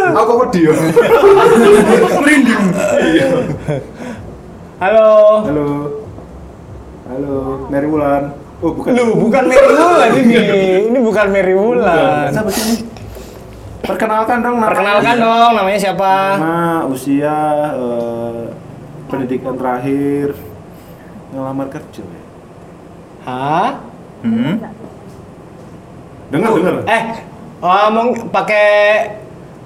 S2: Aku kok dia.
S3: Merinding.
S1: Halo.
S2: Halo. Halo, Mary Wulan. Oh, bukan.
S1: Lu bukan Mary Wulan ini. Ini bukan Mary Wulan.
S2: Siapa sih ini? kan? Perkenalkan dong namanya.
S1: Perkenalkan dong namanya siapa?
S2: Nama, usia, eh, pendidikan terakhir, ngelamar kerja. ya.
S1: Hah?
S3: Hmm?
S2: Dengar, dengar.
S1: Eh, ngomong pakai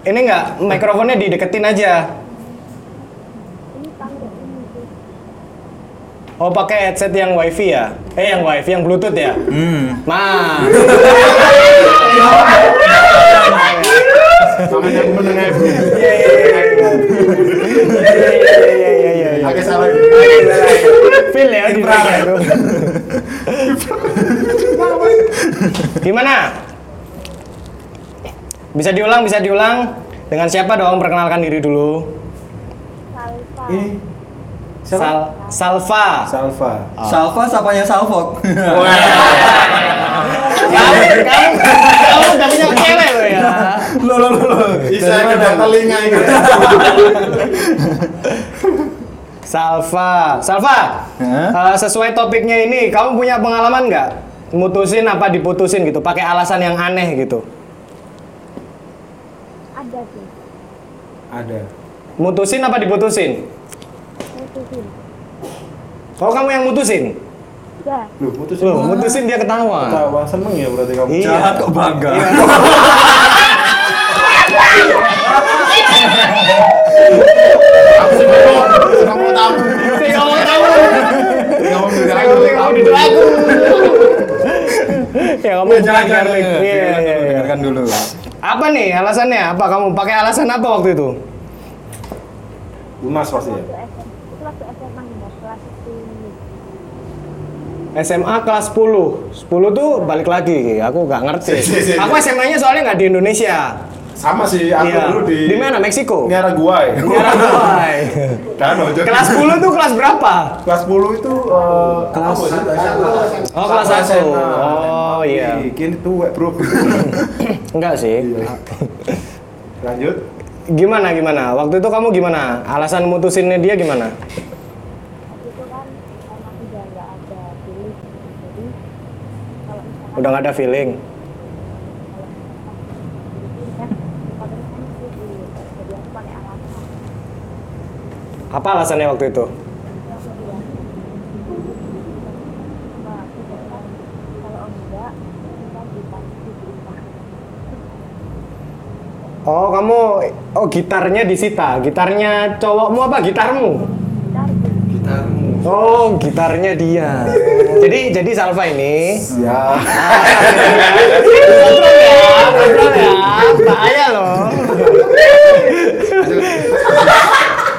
S1: ini enggak mikrofonnya dideketin aja. Oh pakai headset yang wifi ya? Eh yang wifi yang bluetooth ya?
S3: Hmm.
S1: Ma.
S2: Namanya aku mendengar.
S1: Iya iya iya. Iya iya iya iya iya.
S2: Oke, salah.
S1: Feel ya di belakang itu. Gimana? Bisa diulang, bisa diulang. Dengan siapa dong perkenalkan diri dulu?
S5: Salva.
S2: Ini siapa?
S1: Sal- Salva.
S2: Salva.
S3: Salva sapanya Salvok.
S1: Kamu, kamu, kamu udah punya cewek lo ya.
S3: Lo lo lo. lo.
S2: Bisa ada telinga ini.
S1: Salva, Salva. eh,
S3: Hah?
S1: sesuai topiknya ini, kamu punya pengalaman nggak? Mutusin apa diputusin gitu? Pakai alasan yang aneh gitu.
S5: Ada sih.
S2: Ada.
S1: Mutusin apa diputusin?
S5: Mutusin.
S1: Oh kamu yang mutusin?
S5: Ya.
S2: Lu putusin.
S1: Loh, mutusin dia ketawa.
S2: Tawa seneng ya berarti kamu.
S1: Iya.
S3: Jahat kok bangga.
S2: Aku sih ngomong, kamu tahu.
S1: Saya ngomong Iya, kamu,
S2: Kamu
S1: saya
S3: Iya.
S1: ngomong kamu di aku. Ya kamu jangan garlic. Iya, iya, iya.
S3: Dengarkan dulu.
S1: Apa nih alasannya? Apa kamu pakai alasan apa waktu itu?
S2: Lunas pasti ya.
S5: Waktu SMA. Itu waktu SMA enggak kelas tinggi.
S1: SMA kelas 10. 10 tuh balik lagi. Aku nggak ngerti. Aku SMA-nya soalnya nggak di Indonesia.
S2: Sama sih, aku
S1: Iya.
S2: dulu di Iya. ya?
S1: Di mana? Meksiko?
S2: Niaraguay.
S1: Paraguay.
S2: Dan ojo.
S1: kelas 10 tuh kelas berapa?
S2: kelas 10 itu eh,
S1: Kelas
S2: apa sih?
S1: satu
S2: Aku
S1: Oh, kelas
S2: satu
S1: satu.
S2: SMA.
S1: Oh, iya.
S2: Ih, Kini tuwek, Bro.
S1: Enggak sih.
S2: Iya. Lanjut.
S1: Gimana gimana? Waktu itu kamu gimana? Alasan mutusinnya dia gimana?
S5: Waktu itu kan emang udah nggak ada pilih jadi kalau misalkan
S1: Udah nggak ada feeling.
S5: kalau misalkan pilih kan paling kan itu dulu jadi aku pakai alasan
S1: Apa alasannya waktu itu?
S5: Jadi aku bilang mbak aku bilang, kalau enggak kita dipaksa diberikan
S1: Oh, kamu oh gitarnya disita. Gitarnya cowokmu apa gitarmu?
S5: kita harus
S3: Gitarmu.
S1: Oh, gitarnya dia. jadi jadi Salva ini
S2: Ya.
S1: Kontrol ya, kontrol ya. Bahaya loh.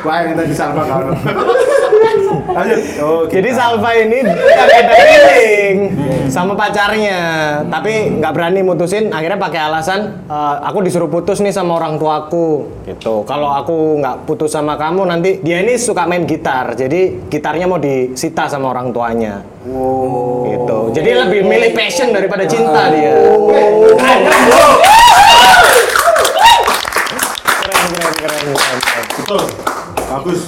S2: Wah, yang tadi salva kalau. Lanjut. Oh,
S1: Jadi Salva ini nggak ada feeling sama pacarnya, tapi nggak berani mutusin. Akhirnya pakai alasan "Eh, aku disuruh putus nih sama orang tuaku. Gitu. Kalau aku nggak putus sama kamu nanti dia ini suka main gitar, jadi gitarnya mau disita sama orang tuanya. Gitu. Jadi lebih milih passion daripada cinta dia. Keren, keren, keren. Keren, keren, keren, keren, keren.
S2: betul. Bagus.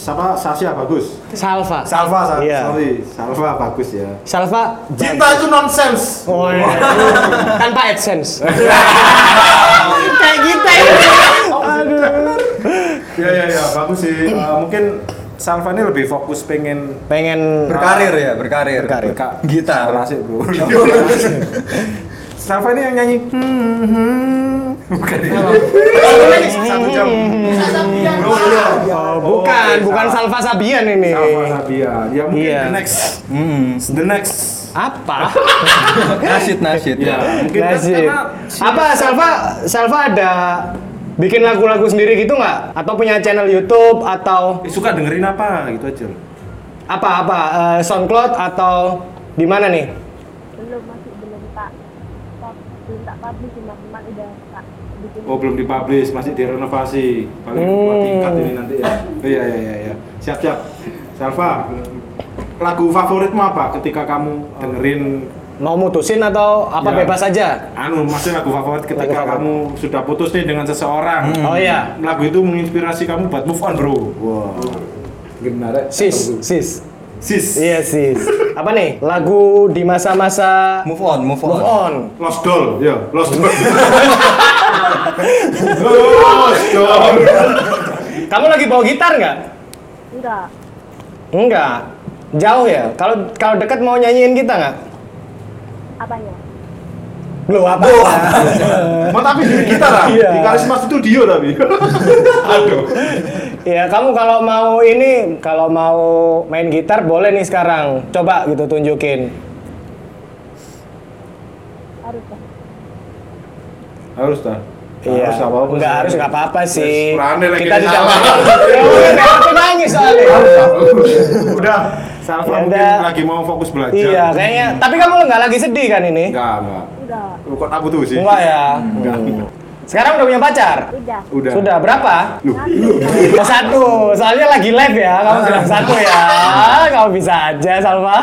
S2: Siapa? Sasya bagus.
S1: Salva.
S2: Salva, Sa-
S1: Iya.
S2: sorry. Salva bagus ya.
S1: Salva
S2: Cinta itu nonsense.
S1: Oh, iya. tanpa AdSense. Kayak gitu. kita ini.
S2: Ya ya ya, bagus sih. Eh, mungkin Salva ini lebih fokus pengen
S1: Pengen
S3: Berkarir ya, berkarir.
S1: Berkarir.
S3: Berka- gitar.
S2: Salah sih, Bro. Salva ini yang nyanyi hmm, hmm. bukan ya. Satu jam. iya. Bro, bro.
S1: Oh, bukan, bukan Salva Sabian ini.
S2: Salva Sabian. Ya mungkin
S1: Iya.
S2: the next.
S3: Hmm.
S2: The next.
S1: Apa?
S3: Nasid, nasid.
S2: Ya, mungkin kan
S1: Iya. Nasib.
S2: karena
S1: Apa Salva Salva ada bikin lagu-lagu sendiri gitu nggak? Atau punya channel YouTube atau
S2: suka dengerin apa gitu aja.
S1: apa apa eh, SoundCloud atau di mana nih?
S5: belum masih belum tak tak belum tak publish teman-teman udah tak bikin
S2: Oh belum dipublish, masih direnovasi. Paling dua
S1: Hmm.
S2: tingkat ini nanti ya. Oh, iya iya iya. iya. Siap siap. Salva, lagu favoritmu apa ketika kamu dengerin
S1: Mau mutusin atau apa
S2: Ya.
S1: bebas aja?
S2: anu maksudnya lagu favorit ketika
S1: Lagu favorit.
S2: kamu sudah putus nih dengan seseorang
S1: Oh iya.
S2: lagu itu menginspirasi kamu buat move on bro wow menarik
S1: Sis, sis.
S2: sis
S1: Iya sis. Apa nih? Lagu di masa-masa
S3: Move on, move on.
S1: move on.
S2: Lost Doll, ya, Lost Doll. Lost Doll.
S1: Kamu lagi bawa gitar nggak?
S5: enggak
S1: Enggak. Jauh ya. Kalau kalau dekat mau nyanyiin kita nggak?
S5: apa ya
S1: Belum apa?
S2: Mau Oh, tapi di gitar lah.
S1: Iya.
S2: Di Karisma Studio tapi. Aduh.
S1: ya kamu kalau mau ini kalau mau main gitar boleh nih sekarang. Coba gitu tunjukin.
S5: harus dah
S2: Harus dah.
S1: Iya.
S2: Harus apa-apa.
S1: Nggak harus nggak apa-apa sih.
S2: Kurangnya lagi
S1: Kita tidak
S2: salah.
S1: Ya, udah, nggak aku nangis soalnya.
S2: Udah.
S1: Ya
S2: Salva mungkin
S1: udah.
S2: lagi mau fokus belajar.
S1: Iya, kayaknya. Tapi kamu nggak lagi sedih kan ini?
S2: Enggak, enggak.
S5: udah
S2: Kok aku tuh sih?
S1: Enggak ya.
S2: Enggak.
S1: Sekarang udah punya pacar?
S5: udah
S2: Udah.
S1: Sudah berapa?
S2: Lu.
S1: Oh, satu, soalnya lagi live ya, kamu bilang satu ya, kamu bisa aja Salma.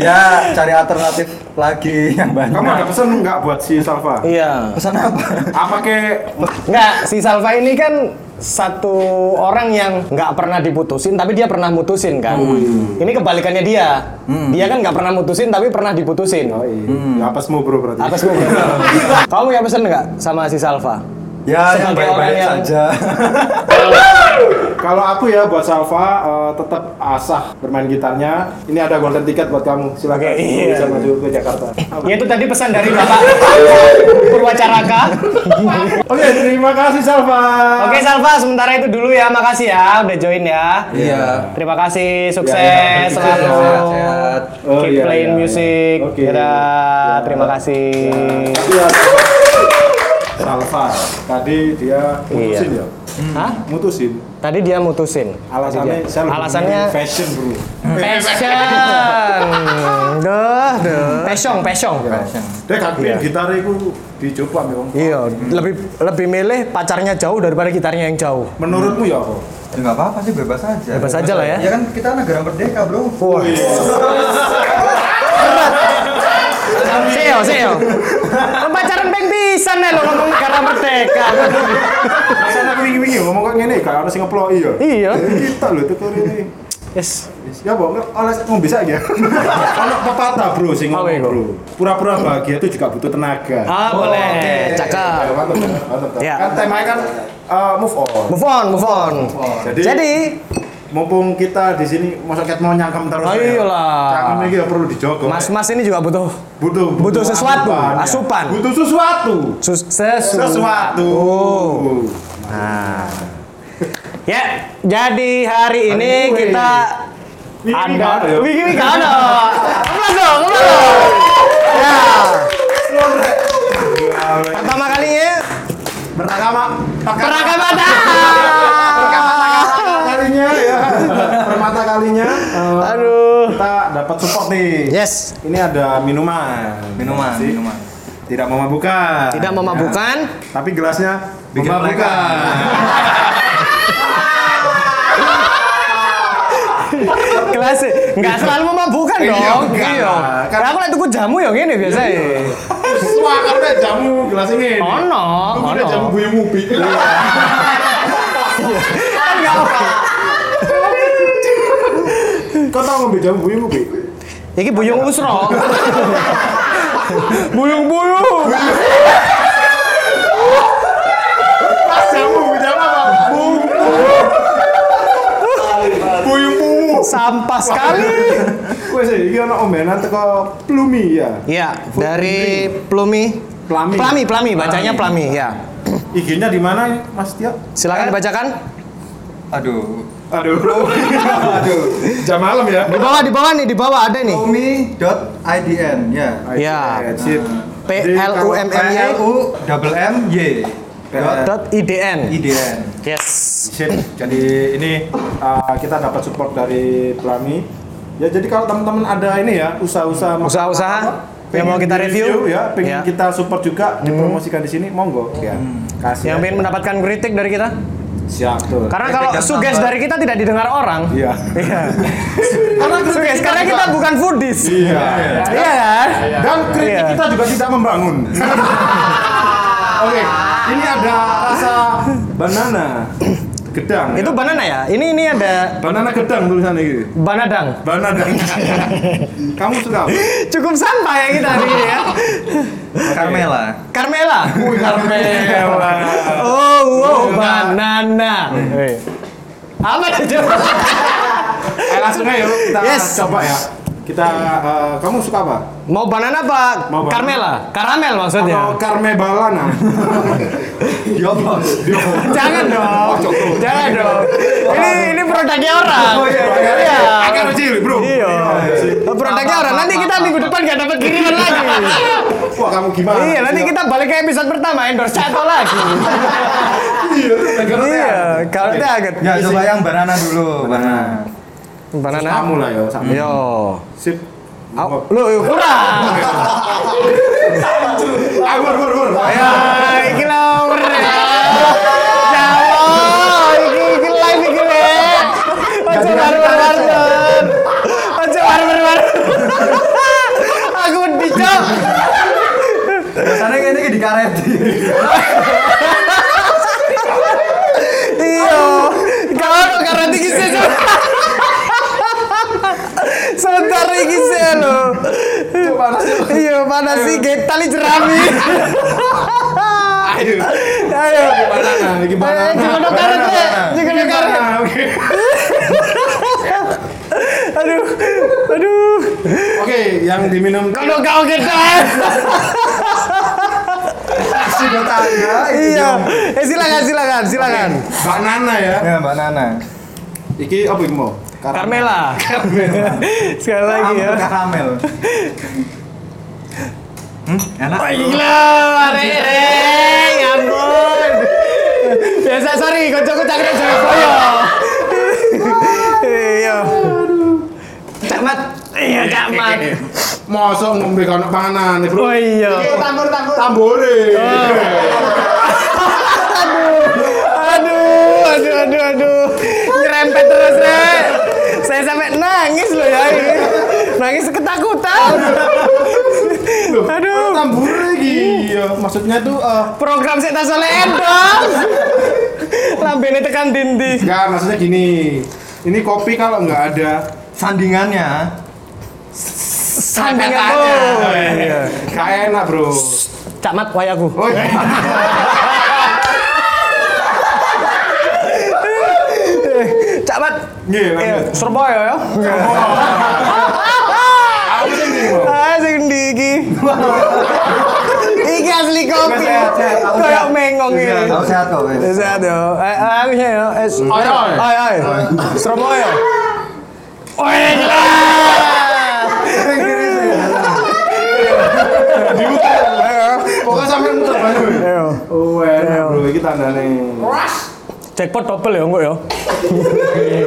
S3: Ya, cari alternatif lagi yang banyak.
S2: Kamu ada pesan enggak buat si Salva?
S1: Iya.
S3: pesan apa?
S2: Apa ke
S1: Nggak, si Salva ini kan satu orang yang nggak pernah diputusin, tapi dia pernah mutusin kan.
S2: Hmm.
S1: Ini kebalikannya dia, dia kan nggak pernah mutusin, tapi pernah diputusin.
S2: Oh iya. Ya, apa semua bro berarti?
S1: Apa sih? kamu punya pesan nggak sama si Salva?
S3: Ya, yang
S1: Sebagai
S3: baik-baik
S1: orang yang-
S3: saja.
S2: Kalau aku ya buat Salva eh, tetap asah bermain gitarnya. Ini ada golden ticket buat kamu.
S1: Oke,
S2: Silakan
S1: iya.
S2: bisa maju ke Jakarta.
S1: Ya itu tadi pesan dari Bapak Purwacaraka.
S2: Oke, terima kasih Salva.
S1: Oke Salva, sementara itu dulu ya, makasih ya udah join ya.
S3: Iya.
S1: Terima kasih, sukses
S2: Ya, ya.
S1: selalu.
S3: Sehat-sehat.
S2: Oh,
S1: Keep
S2: iya,
S1: playing
S2: iya,
S1: music.
S2: iya. Oke.
S1: Dadah,
S2: Ya.
S1: terima kasih.
S2: Iya. Salva, tadi dia mutusin
S1: Iya.
S2: ya?
S1: Hah?
S2: Mutusin.
S1: Tadi dia mutusin. Tadi
S2: Alasannya
S1: dia.
S2: saya lebih
S1: Iya. alasannya
S2: pengen fashion bro.
S1: Passion. Duh, duh. Pesong, pesong. Iya.
S2: Dek kan gitar iku dicoba ya Om.
S1: Iya, lebih lebih milih pacarnya jauh daripada gitarnya yang jauh.
S2: Menurutmu ya apa?
S3: Ya nggak apa-apa sih bebas aja.
S1: Bebas aja lah ya.
S3: Ya kan kita negara merdeka bro.
S1: Wah. Seo, seo. Lo Pacaran peng pisan ya lo ngomong negara merdeka.
S2: Rasanya aku wingi-wingi ngomong kok ngene gak ono sing ngeploki ya.
S1: Iya.
S2: Kita lho tutur ini.
S1: Yes.
S2: Ya apa? Nggak, Oleh ngombe bisa ya. Ono pepatah bro sing
S1: Apa
S2: ngomong
S1: iku?
S2: bro. Pura-pura bahagia itu juga butuh tenaga.
S1: Ah,
S3: oke.
S1: boleh.
S2: Ya,
S1: Cakep.
S2: mantap, mantap.
S1: Iya.
S2: Kan temanya kan uh, move on.
S1: Move on, move on.
S2: Jadi,
S1: Jadi,
S2: mumpung kita di sini masa ket mau nyangkem terus.
S1: Oh,
S2: ya.
S1: iyalah.
S2: Cangkem ini ya perlu dijogo.
S1: mas-mas ini juga butuh
S2: butuh
S1: butuh sesuatu,
S2: ya.
S1: asupan.
S2: Butuh sesuatu.
S1: sus sesu-
S2: Sesuatu.
S1: Oh.
S2: Nah.
S1: Ya, jadi hari ini
S2: ini.
S1: kita
S2: Ini
S1: ada
S2: nggak ada ya?
S1: Wiki Wiki ada. Kelas dong, kelas dong. Ya, pertama kalinya
S2: Pertama,
S1: perangkat mata.
S2: kalinya ya. Permata kalinya. eh,
S1: Aduh.
S2: Kita dapat support nih.
S1: Yes,
S2: Ini ada minuman.
S3: Minuman,
S2: Sih.
S3: minuman.
S2: Tidak memabukan. Ya.
S1: tidak memabukan.
S2: Tapi gelasnya
S3: Bikin
S2: memabukan.
S1: Kelas enggak selalu memabukan
S2: Iya,
S1: dong.
S2: enggak. Kan-
S1: Iya. Karena aku lagi tuku jamu ya ngene biasa ya.
S2: Iya. Wah, kalau udah jamu gelas ini.
S1: Ono,
S2: Aku udah
S1: ono.
S2: jamu buyu mubi.
S1: Kan enggak apa.
S2: Kau tau ngombe jamu buyu mubi?
S1: Iki buyung usro. Buyung-buyung.
S2: Pas jamu buyu jamu apa? Buyu. Buyu mumu.
S1: Sampah sekali.
S2: Kowe sih iki ono ombenan teko Plumi ya.
S1: Iya, dari Plumi.
S2: Plami.
S1: Plami, Plami, bacanya Plami, ya.
S2: IG-nya di mana ya, Mas Tio?
S1: Silakan dibacakan.
S3: Aduh.
S2: Aduh. Aduh. Jam malam ya.
S1: Di bawah, di bawah nih, di bawah ada nih.
S3: Omi.idn ya.
S1: Ya.
S2: Ayo, Sip.
S1: P L U M N Y
S3: U double M Y. dot
S1: dot IDN.
S3: IDN.
S1: Yes.
S2: Sip. Jadi ini uh, kita dapat support dari Plami. Ya jadi kalau teman-teman ada ini ya usaha-usaha
S1: Usaha-usaha yang
S2: pengen
S1: mau kita review,
S2: ya,
S1: ya.
S2: pengen
S1: Hmm.
S2: kita support juga dipromosikan di sini, monggo ya.
S1: Yang
S2: Kasih. aja.
S1: ingin mendapatkan kritik dari kita.
S2: siap tuh.
S1: Karena
S3: Kritik
S1: kalau
S3: dan
S1: suges
S3: saran.
S1: dari kita tidak didengar orang.
S2: Iya.
S1: Iya. Suges karena kita bukan foodies.
S2: Iya.
S1: Iya kan?
S2: Dan kritik
S1: Iya.
S2: kita juga tidak membangun. Oke, ini ada rasa banana gedang.
S1: Itu
S2: ya.
S1: banana ya. Ini ini ada
S2: banana gedang tulisannya gitu.
S1: banadang.
S2: Banana. Kamu suka apa?
S1: Cukup sampah ya kita hari ini ya.
S3: Carmela.
S1: Carmela.
S2: Carmela.
S1: Oh, wow, banana. Apa tuh?
S2: Eh, langsung aja yuk kita
S1: Yes.
S2: coba ya. Kita eh, kamu suka apa?
S1: Mau banana apa?
S2: Mau banana.
S1: Carmela. Karamel maksudnya.
S2: Atau Carme Balana? Iya,
S3: Yo bos.
S1: Iya. Jangan
S2: Oh,
S1: dong. Jangan dong. Ini ini produknya orang.
S2: iya, iya.
S1: Iya.
S2: Agak kecil, Bro.
S1: Iya. Produknya orang. Nanti kita minggu depan gak dapat kiriman
S2: Iya.
S1: lagi.
S2: Wah, kamu gimana?
S1: Iya, nanti kita balik ke episode pertama endorse satu lagi.
S2: Iya, negara
S1: Iya,
S2: teater.
S1: kalau
S2: Oke.
S1: dia agak
S3: Ya coba yang banana dulu. Banana.
S1: banana.
S2: Kamu lah yo, sama.
S1: Yo.
S2: Sip.
S1: Au, Lu yuk, kurang.
S2: Ayo, bur, bur, bur.
S1: Ya, iki lho. bre. Jawa, iki iki live iki le. Ojo barbar-barbar. Ojo barbar-barbar. Aku dicok.
S3: Biasanya kayaknya kayak di kareti.
S1: Iya. Gak ono karena iki sih. Sebentar iki sih lho. Iya, panas sih getali jerami.
S2: Ayo.
S1: Ayo.
S2: Banana, ini banana.
S1: Ayo, Eh, jangan dong, karet, Le. Jangan dong, karet.
S2: Banana, Oke.
S1: Aduh. Aduh.
S2: Oke, yang diminum
S1: Kalau kau kita
S3: Sudah tangga.
S1: Iya. Eh silakan silakan silakan.
S2: banana ya.
S3: Ya banana.
S2: Iki apa iki mau?
S1: Carmela. Sekali lagi ya.
S3: Karamel. Hmm, enak.
S1: Gila, reng, ampun. Biasa sorry, kocokku cangkruk jawa boyo. Iya. Mat. Iya, Kak Mat.
S2: Mosok ngombe kono panganan, Bro.
S1: Oh iya.
S2: Tambore.
S1: Eh. Aduh, aduh, aduh, aduh. Nyerempet terus, Rek. Saya sampai nangis loh ya ini. Nangis ketakutan.
S2: Loh,
S1: Aduh.
S2: Tambore iki.
S1: Uh.
S2: Iya, maksudnya tuh eh,
S1: Program saya tak soleh endorse. Lambene tekan dindi.
S2: enggak, maksudnya gini. Ini kopi kalau nggak ada
S3: Sandingannya.
S1: Sandang
S3: Tanya.
S1: aku.
S2: nggak
S1: iya.
S2: enak, Bro.
S1: Cak Mat, wayaku.
S2: Oh, iya.
S1: Cak Mat.
S2: Nggih,
S1: Eh,
S2: lanjut.
S1: Surabaya ya.
S2: Aku sing ndi, Bro?
S1: Ah, sing ndi iki. Iki asli kopi.
S3: Sehat, sehat, aku
S1: Kayak
S3: sehat.
S1: mengong iki.
S3: Kamu sehat kok, Wes?
S1: Sehat yo. Eh, aku sih yo. Eh,
S2: Oi, oi.
S1: Oi, oi. Surabaya. Oi, gila.
S2: Pokoknya sampe muter banyu.
S1: Ayo.
S2: Oh, enak, Bro. Iki tandane.
S1: Jackpot double ya enggak ya? Ayo,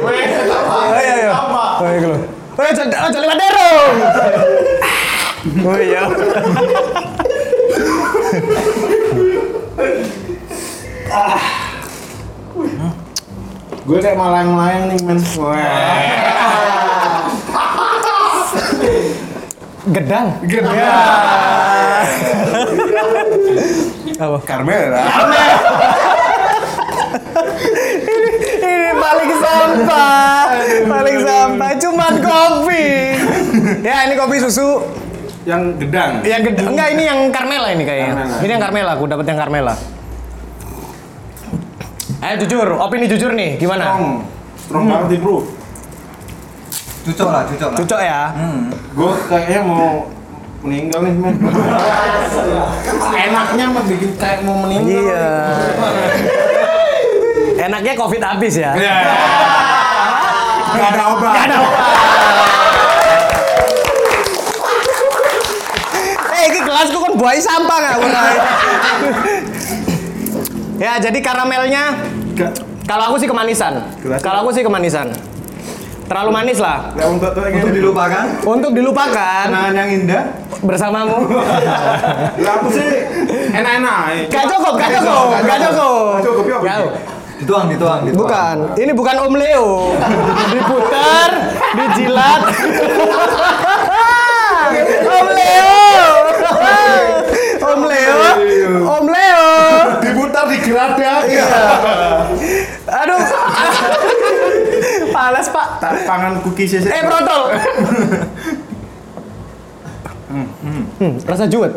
S1: ayo. Ayo, gitu. Ayo, jangan oh, jangan lewat derong. Oh iya.
S2: Gue kayak malayang-malayang nih, men. Wah.
S1: Gedang.
S2: Gede. Oh.
S1: Apa?
S2: Carmela.
S1: Ini paling sampah, paling sampah. Cuman kopi. ya ini kopi susu
S2: Yang gedang.
S1: yang gede. Enggak ini yang Carmela ini kayaknya.
S2: Carmela.
S1: Ini yang Carmela, aku dapat yang Carmela. Ayo jujur, opini jujur nih,
S2: Strong.
S1: gimana?
S2: Strong banget nih, Bro.
S3: Cucok lah, cucok lah.
S1: Cucok ya.
S3: Hmm.
S2: Gue kayaknya mau meninggal nih, men. Enaknya mah bikin kayak mau meninggal.
S1: Iya. Enaknya covid habis ya.
S2: Iya. Gak ada obat.
S1: Gak ada obat. Eh, ini kelasku kan buai sampah nggak mulai. ya, jadi karamelnya
S2: Gak.
S1: kalau aku sih kemanisan.
S2: Gelas.
S1: Kalau aku sih kemanisan. Terlalu manis lah.
S2: Gak untuk tuh
S3: Itu
S2: yang ini.
S3: dilupakan.
S1: Untuk dilupakan
S2: Kenangan yang indah.
S1: bersamamu.
S2: Lah aku sih enak-enak. eh.
S1: Gak cukup, gak cukup, gak cukup.
S2: Gak cukup, ya, Bu.
S1: Gak-
S3: Dituang, dituang, dituang.
S1: Bukan, ini bukan Om Leo. Diputar, dijilat. Om Leo. Om Leo. Om Leo. Iya.
S2: Diputar di gerada.
S1: Aduh. Panas, Pak.
S2: Tak pangan kuki sih.
S1: Eh, protol. Hmm, rasa juwet.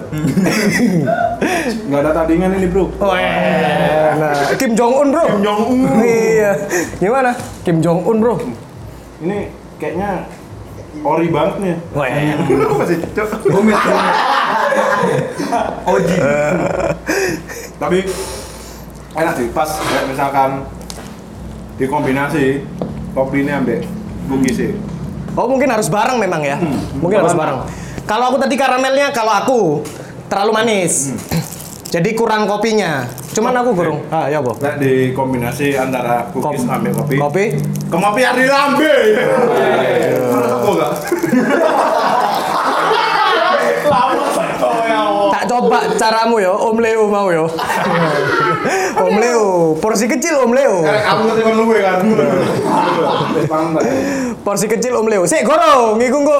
S2: Gak ada tandingan ini, Bro.
S1: Wah, enak. Nah, Kim Jong Un, Bro.
S2: Kim Jong Un.
S1: Iya. Gimana? Kim Jong Un, Bro.
S2: Ini kayaknya ori banget nih.
S1: Wah,
S2: iya.
S1: enak.
S2: Masih cocok.
S3: Rumit, rumit. Oji.
S2: Eh. tapi enak sih pas kayak misalkan dikombinasi kopi ini ambek bugis sih
S1: Oh mungkin harus bareng memang ya.
S2: Hmm.
S1: Mungkin harus bareng. Kalau aku tadi karamelnya kalau aku terlalu manis.
S2: Hmm.
S1: Jadi kurang kopinya. Cuman aku gurung. Ah ya boh.
S2: kayak dikombinasi antara
S1: Kopi.
S2: bugis ambek kopi
S1: Kopi.
S2: kemopi hari lambe Menurut aku enggak ya,
S1: Tak coba caramu yo, Om Leo mau yo. Om Leo, porsi kecil Om Leo.
S2: Karena kamu ngerti kan luwe kan paham nggak ya?
S1: Porsi kecil Om Leo. Sik gorong, iku engko.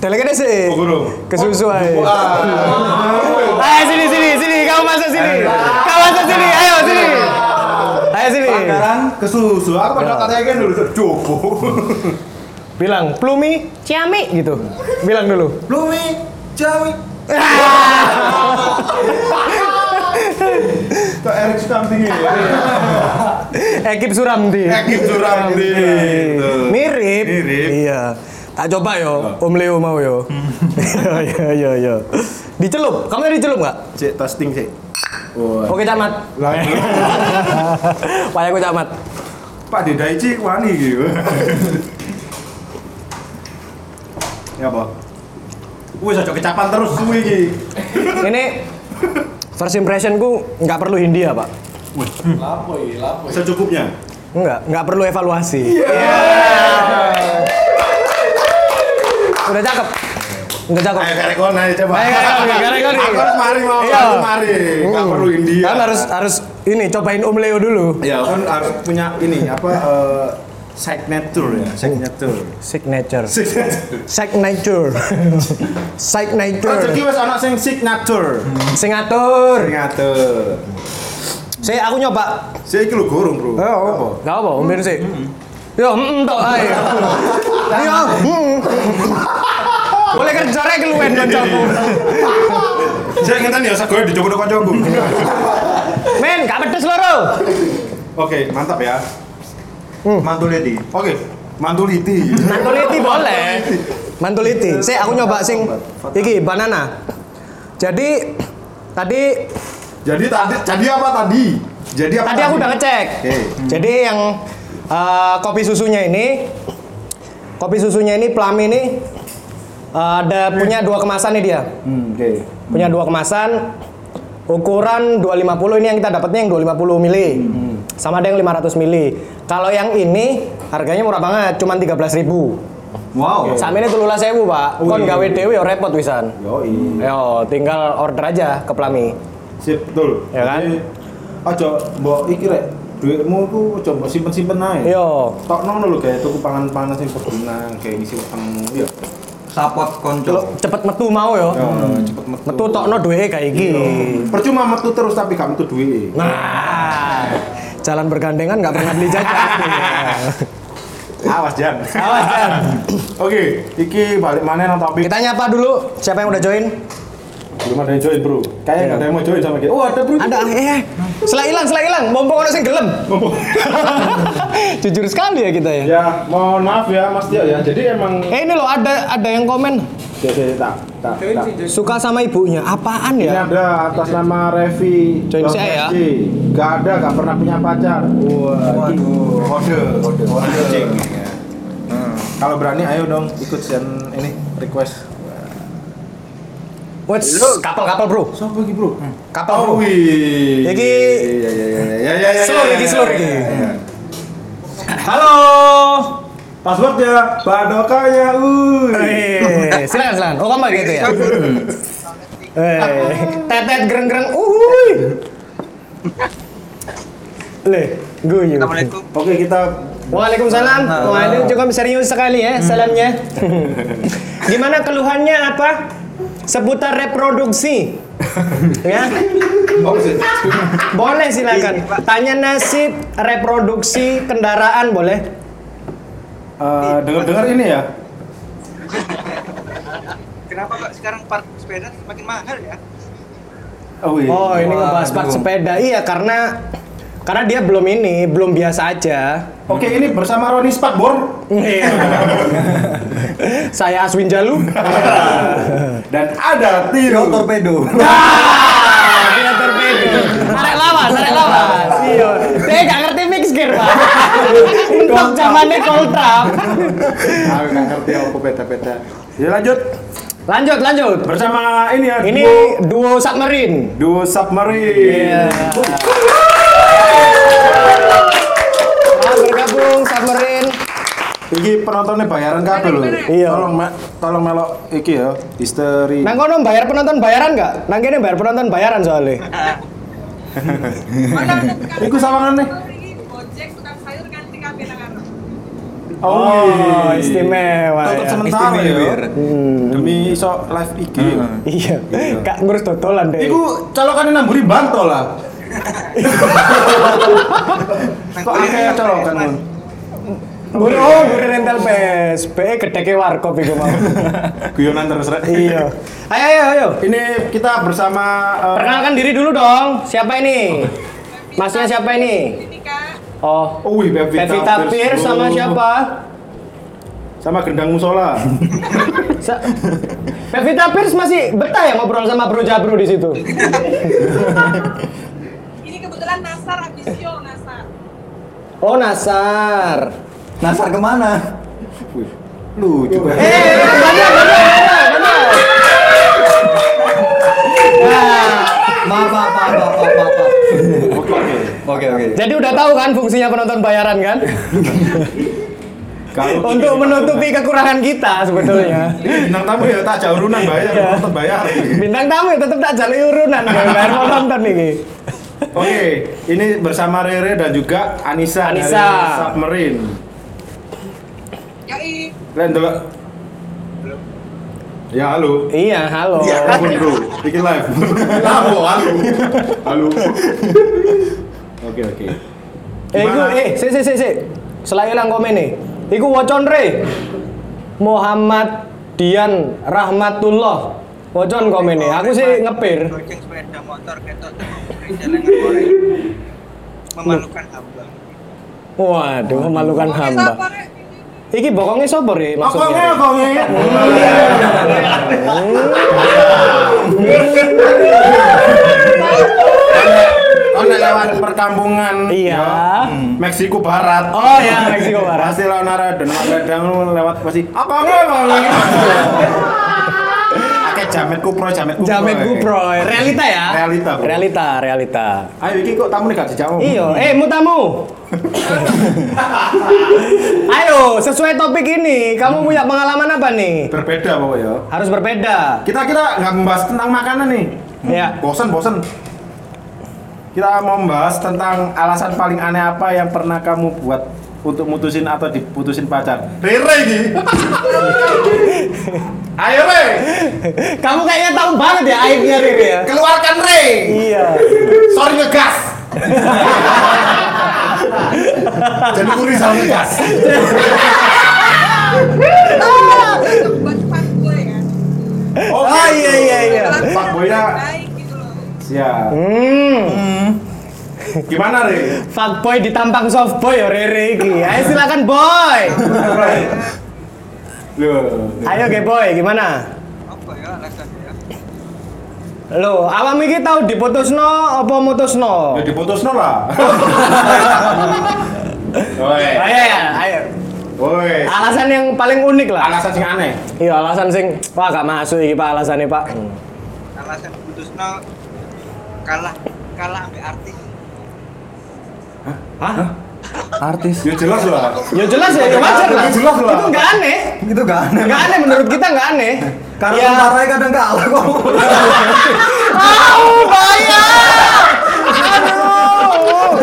S1: Delegene sik.
S2: Oh, ah. gorong.
S1: Kesusu ae.
S2: Wah.
S1: Ayo sini sini sini, kamu masuk sini. Kamu masuk sini, ayo sini. Ayo sini.
S2: Pangeran kesusu aku pada katanya kan dulu coba
S1: Bilang, plumi, ciami gitu. Bilang dulu.
S3: Lumi, Jawi.
S2: kok Erik Stamting ini
S1: Ekip Suramdi.
S2: Ekip Suramdi. Betul.
S1: Iya. Mirip.
S2: Iya. Mirip.
S1: Iya. Tak coba yo, Om Leo mau yo. Iya iya iya. Dicelup, kamu tadi dicelup nggak?
S2: cek testing sih Wah.
S1: Oke camat. Pak aku camat.
S2: Pak Dedaici wani gitu. ya apa? Wih, cocok kecapan terus suwi iki.
S1: Ini first impressionku nggak perlu Hindia pak.
S2: Secukupnya.
S1: Nggak, nggak perlu evaluasi. Iya. udah cakep. Udah cakep.
S2: Ayo karek kon ayo coba.
S1: Ayo, karek kon, karek kon.
S2: Aku harus mari mau,
S1: Iya.
S2: aku mari. Enggak perlu India.
S1: Kan harus harus ini cobain Om Leo dulu.
S2: ya kan harus punya ini apa eh, signature ya, signature.
S1: Signature.
S2: Signature.
S1: Signature.
S2: Rezeki
S1: Signature.
S2: wis ana sing signature.
S1: Sing ngatur.
S2: Signature.
S1: Sik aku nyoba.
S2: Saya iki lho gorong, Bro. Oh, Apa?
S1: Yo, gak apa, Om sik. Yo, heeh tok ae. Yo, mm. Boleh kerjare keluwen kancamu.
S2: Saya ngeten ya sego dicoba kancaku.
S1: Men, gak pedes loro.
S2: Oke, mantap ya.
S1: Hmm.
S3: Mantuliti.
S2: Oke, mantuliti.
S1: Mantuliti boleh. Mantuliti. Sik aku nyoba sing iki banana. Jadi tadi
S2: Jadi tadi jadi apa tadi? Jadi apa?
S1: Tadi aku udah ngecek.
S2: Oke.
S1: Jadi yang eh, kopi susunya ini, kopi susunya ini Plami ini eh, ada punya dua kemasan nih dia.
S2: Hmm, oke.
S1: Punya dua kemasan. Ukuran 250 ini yang kita dapatnya yang 250 mili. Sama ada yang 500 mili. Kalau yang ini harganya murah banget, cuman 13.000.
S2: Wow.
S1: Sama ini telulah sewu, Pak. Kon
S2: Wih.
S1: gawe dhewe ya repot wisan.
S2: Yoi.
S1: Yo, tinggal order aja ke Plami.
S2: Sip, betul.
S1: Ya kan?
S2: Jadi, Aja mbok iki rek duitmu ku aja mbok simpen-simpen ae.
S1: Yo,
S2: Tokno lho gawe tuku pangan-pangan sing berguna, gawe ngisi wetengmu. Iya.
S3: Support konco.
S1: cepet metu mau yo.
S2: Yo, cepet
S1: Hmm.
S2: metu. Iya.
S1: Metu tokno duwe kayak gini.
S2: Percuma metu terus tapi gak metu duit.
S1: Nah, jalan bergandengan nggak pernah beli jajan.
S2: Awas, Jan.
S1: Awas Jan.
S2: Oke, iki balik mana nang topik?
S1: Kita nyapa dulu. Siapa yang udah join?
S2: Belum ada yang join, Bro. Kayaknya nggak ada yang mau join sama kita. Oh, ada, Bro.
S1: Iya. Ada. Eh, selah hilang, selah hilang. Mumpung orang sing gelem. Jujur sekali ya kita ya.
S2: Ya, mohon maaf ya, Mas Tio ya. Jadi emang
S1: Eh ini loh ada ada yang komen
S2: Ya, ya, ya, tak, tak, tak.
S1: suka sama ibunya. Apaan
S2: Ini
S1: ya?
S2: ada atas nama Revi.
S1: Join
S2: Dot
S1: saya ya.
S2: SG. Gak ada, gak pernah punya pacar. Wah, ini
S3: Waduh.
S2: kode, kode,
S3: Anjing.
S2: kode.
S3: ya. Hmm.
S2: Kalau berani, ayo dong ikut sen ini request.
S1: What's
S2: Iya.
S1: kapal-kapal bro?
S2: Siapa lagi bro?
S1: Kapal
S3: Oh.
S1: bro.
S2: wih.
S1: Iki-
S2: Ya, ya, ya, ya, ya, ya,
S1: Seluruh
S2: ya,
S1: iki,
S2: ya,
S1: seluruh
S2: ya,
S1: iki.
S2: ya, ya. Halo. Passwordnya, ya? badokanya, uy.
S1: Eh, silakan silakan. Oh kamu gitu ya. Eh, tetet gereng-gereng. Uhuy. Leh, guyu.
S6: Assalamualaikum.
S2: Oke kita
S1: Waalaikumsalam. Wah, ini cukup serius sekali ya salamnya. Gimana keluhannya apa? Seputar reproduksi. ya. boleh silakan. Tanya nasib reproduksi kendaraan boleh.
S2: eh, dengar-dengar ini ya.
S6: Kenapa kok sekarang park sepeda makin mahal ya?
S2: Oh, iya.
S1: Oh, ini ngebahas part sepeda. Iya, karena karena dia belum ini, belum biasa aja.
S2: Oke ini bersama Roni Spatbor.
S1: Iya. Saya Aswin Jalu.
S2: dan ada Tiro Torpedo.
S1: Ah, Tidak torpedo. Arek lawas, arek lawas. Iya. Dia nggak ngerti mix gear, Pak. Untuk zamannya koltrap.
S2: Aku nggak ngerti aku peta-peta. Ya lanjut
S1: Lanjut, lanjut.
S2: bersama ini ya.
S1: Ini
S2: duo-
S1: duo submarine.
S2: duo submarine.
S1: Iya. Ah, bergabung submarine.
S2: Iki penontonnya bayaran kabel loh.
S1: Iya.
S2: Tolong mak, tolong melok iki ya. Histeri.
S1: Nang kono bayar penonton bayaran nggak? Nang kene bayar penonton bayaran soalnya.
S2: Iku sawangan nih.
S7: Gojek tukang sayur ganti kabeh nang arep.
S1: Oh, istimewa. ya.
S2: Tutup Iya.
S1: Hmm.
S2: sementara
S3: Istimewa,
S2: ya.
S3: Wir.
S2: Demi iso live IG.
S1: Iya. Kak ngurus totolan deh.
S2: Iku colokannya namburi bantol lah.
S6: Nang
S2: Kok
S6: kuliah
S2: akeh
S6: kan
S2: colokan
S6: PS,
S2: Mun?
S1: Guru oh, guru rental PSP gedeke warkop iku mau.
S2: Guyonan terus rek.
S1: iya. Ayo ayo ayo.
S2: Ini kita bersama eh,
S1: Perkenalkan diri dulu dong. Siapa ini? Masnya siapa ini?
S7: Nah, Ini Kak,
S1: Oh,
S2: Oh, wih, Pevita,
S1: Pevita Pierce sama
S2: Oh.
S1: siapa?
S2: Sama gendang musola.
S1: Sa- Pevita Pierce masih betah ya ngobrol sama Bro Jabro di situ.
S7: ini kebetulan Nasar habis show Nasar.
S1: Oh, Nasar.
S3: Nasar kemana?
S2: Wih, Lucu banget.
S1: Eh, benar benar benar.
S3: Maaf, maaf, maaf, maaf, maaf, maaf.
S2: Oke, oke.
S3: Oke, oke.
S1: Jadi udah tahu kan fungsinya penonton bayaran kan?
S8: Kalau-
S1: untuk menutupi kekurangan kita sebetulnya.
S2: Ini bintang tamu ya tak jauh runan bayar,
S1: Iya.
S2: tetap bayar.
S1: Bintang tamu ya tetap tak jalur urunan kalau bayar penonton ini.
S2: Oke, ini bersama Rere dan juga Anissa,
S1: Anissa.
S2: dari Submarine.
S9: Yoi.
S2: Kalian dulu. Ya halo.
S1: Iya, halo.
S2: Apapun bro, bikin live.
S8: Lapo, aku.
S2: Halo. Oke oke.
S1: Eh, iku,
S2: Gimana?
S1: eh, si, si, si, si. Selain hilang komen nih. Iku wocon re. Muhammad Dian Rahmatullah. Wocon komen nih. Aku sih ngepir.
S7: Gojek sepeda motor ketok tengok goreng, jalan goreng. Memalukan hamba.
S1: Waduh, memalukan
S9: Oke,
S1: hamba.
S9: sabar, Rek.
S1: Iki bokongnya sopo re
S2: Pokoknya
S1: maksudnya.
S2: pokoknya. Kau udah Oh, lewat perkampungan. Hmm.
S1: Iya.
S2: Meksiko Barat.
S1: Oh ya, Meksiko Barat.
S2: Pasti lawan arah dan kadang lewat pasti apa enggak Pakai jamet kupro, jamet kupro. ya.
S1: Jamet Gupro, realita ya?
S2: Realita, bro.
S1: Realita, realita.
S2: Ayo iki kok tamu nih gak dijawab.
S1: Iyo, eh mutamu. Ayo, sesuai topik ini, kamu punya pengalaman apa nih?
S2: Berbeda ya? pokoknya.
S1: Harus berbeda.
S2: Kita kita nggak membahas tentang makanan nih.
S1: Ya.
S2: Bosen, bosen. Kita mau membahas tentang alasan paling aneh apa yang pernah kamu buat untuk mutusin atau diputusin pacar. Rere ini. Ayo Re,
S1: Kamu kayaknya tahu banget ya aibnya Riri ya.
S2: keluarkan Re.
S1: Iya.
S2: Sorry ngegas. Jadi kuri sama ngegas.
S9: Buat cepat gue ya.
S2: Oh,
S1: Ah, iya iya iya.
S2: Pak Boya.
S9: Baik gitu loh.
S2: Siap.
S1: Hmm,
S2: Gimana Re?
S1: fuckboy ditampang softboy ya Riri iki. Ayo silakan boy.
S2: Loh.
S1: Ayo ge boy, gimana?
S7: Apa ya alasannya ya?
S1: Lo, awam iki tahu diputusno apa mutusno?
S2: Ya diputus no lah. Woi.
S1: Ayo ya, ayo.
S2: Woi.
S1: Alasan yang paling unik lah.
S2: Alasan sing aneh.
S1: Iya alasan sing wah gak masuk iki Pak alasannya Pak.
S7: Alasan putusnya kalah kalah ambil artis.
S3: artis
S2: Ya jelas lah.
S1: Ya jelas ya, ya wajar lah.
S2: Ya jelas lah.
S1: Itu gak aneh.
S3: itu gak aneh
S1: Gak aneh menurut kita gak aneh.
S3: karena
S1: Ya.
S3: tentara kadang kalah kok
S1: Au, bahaya. Aduh.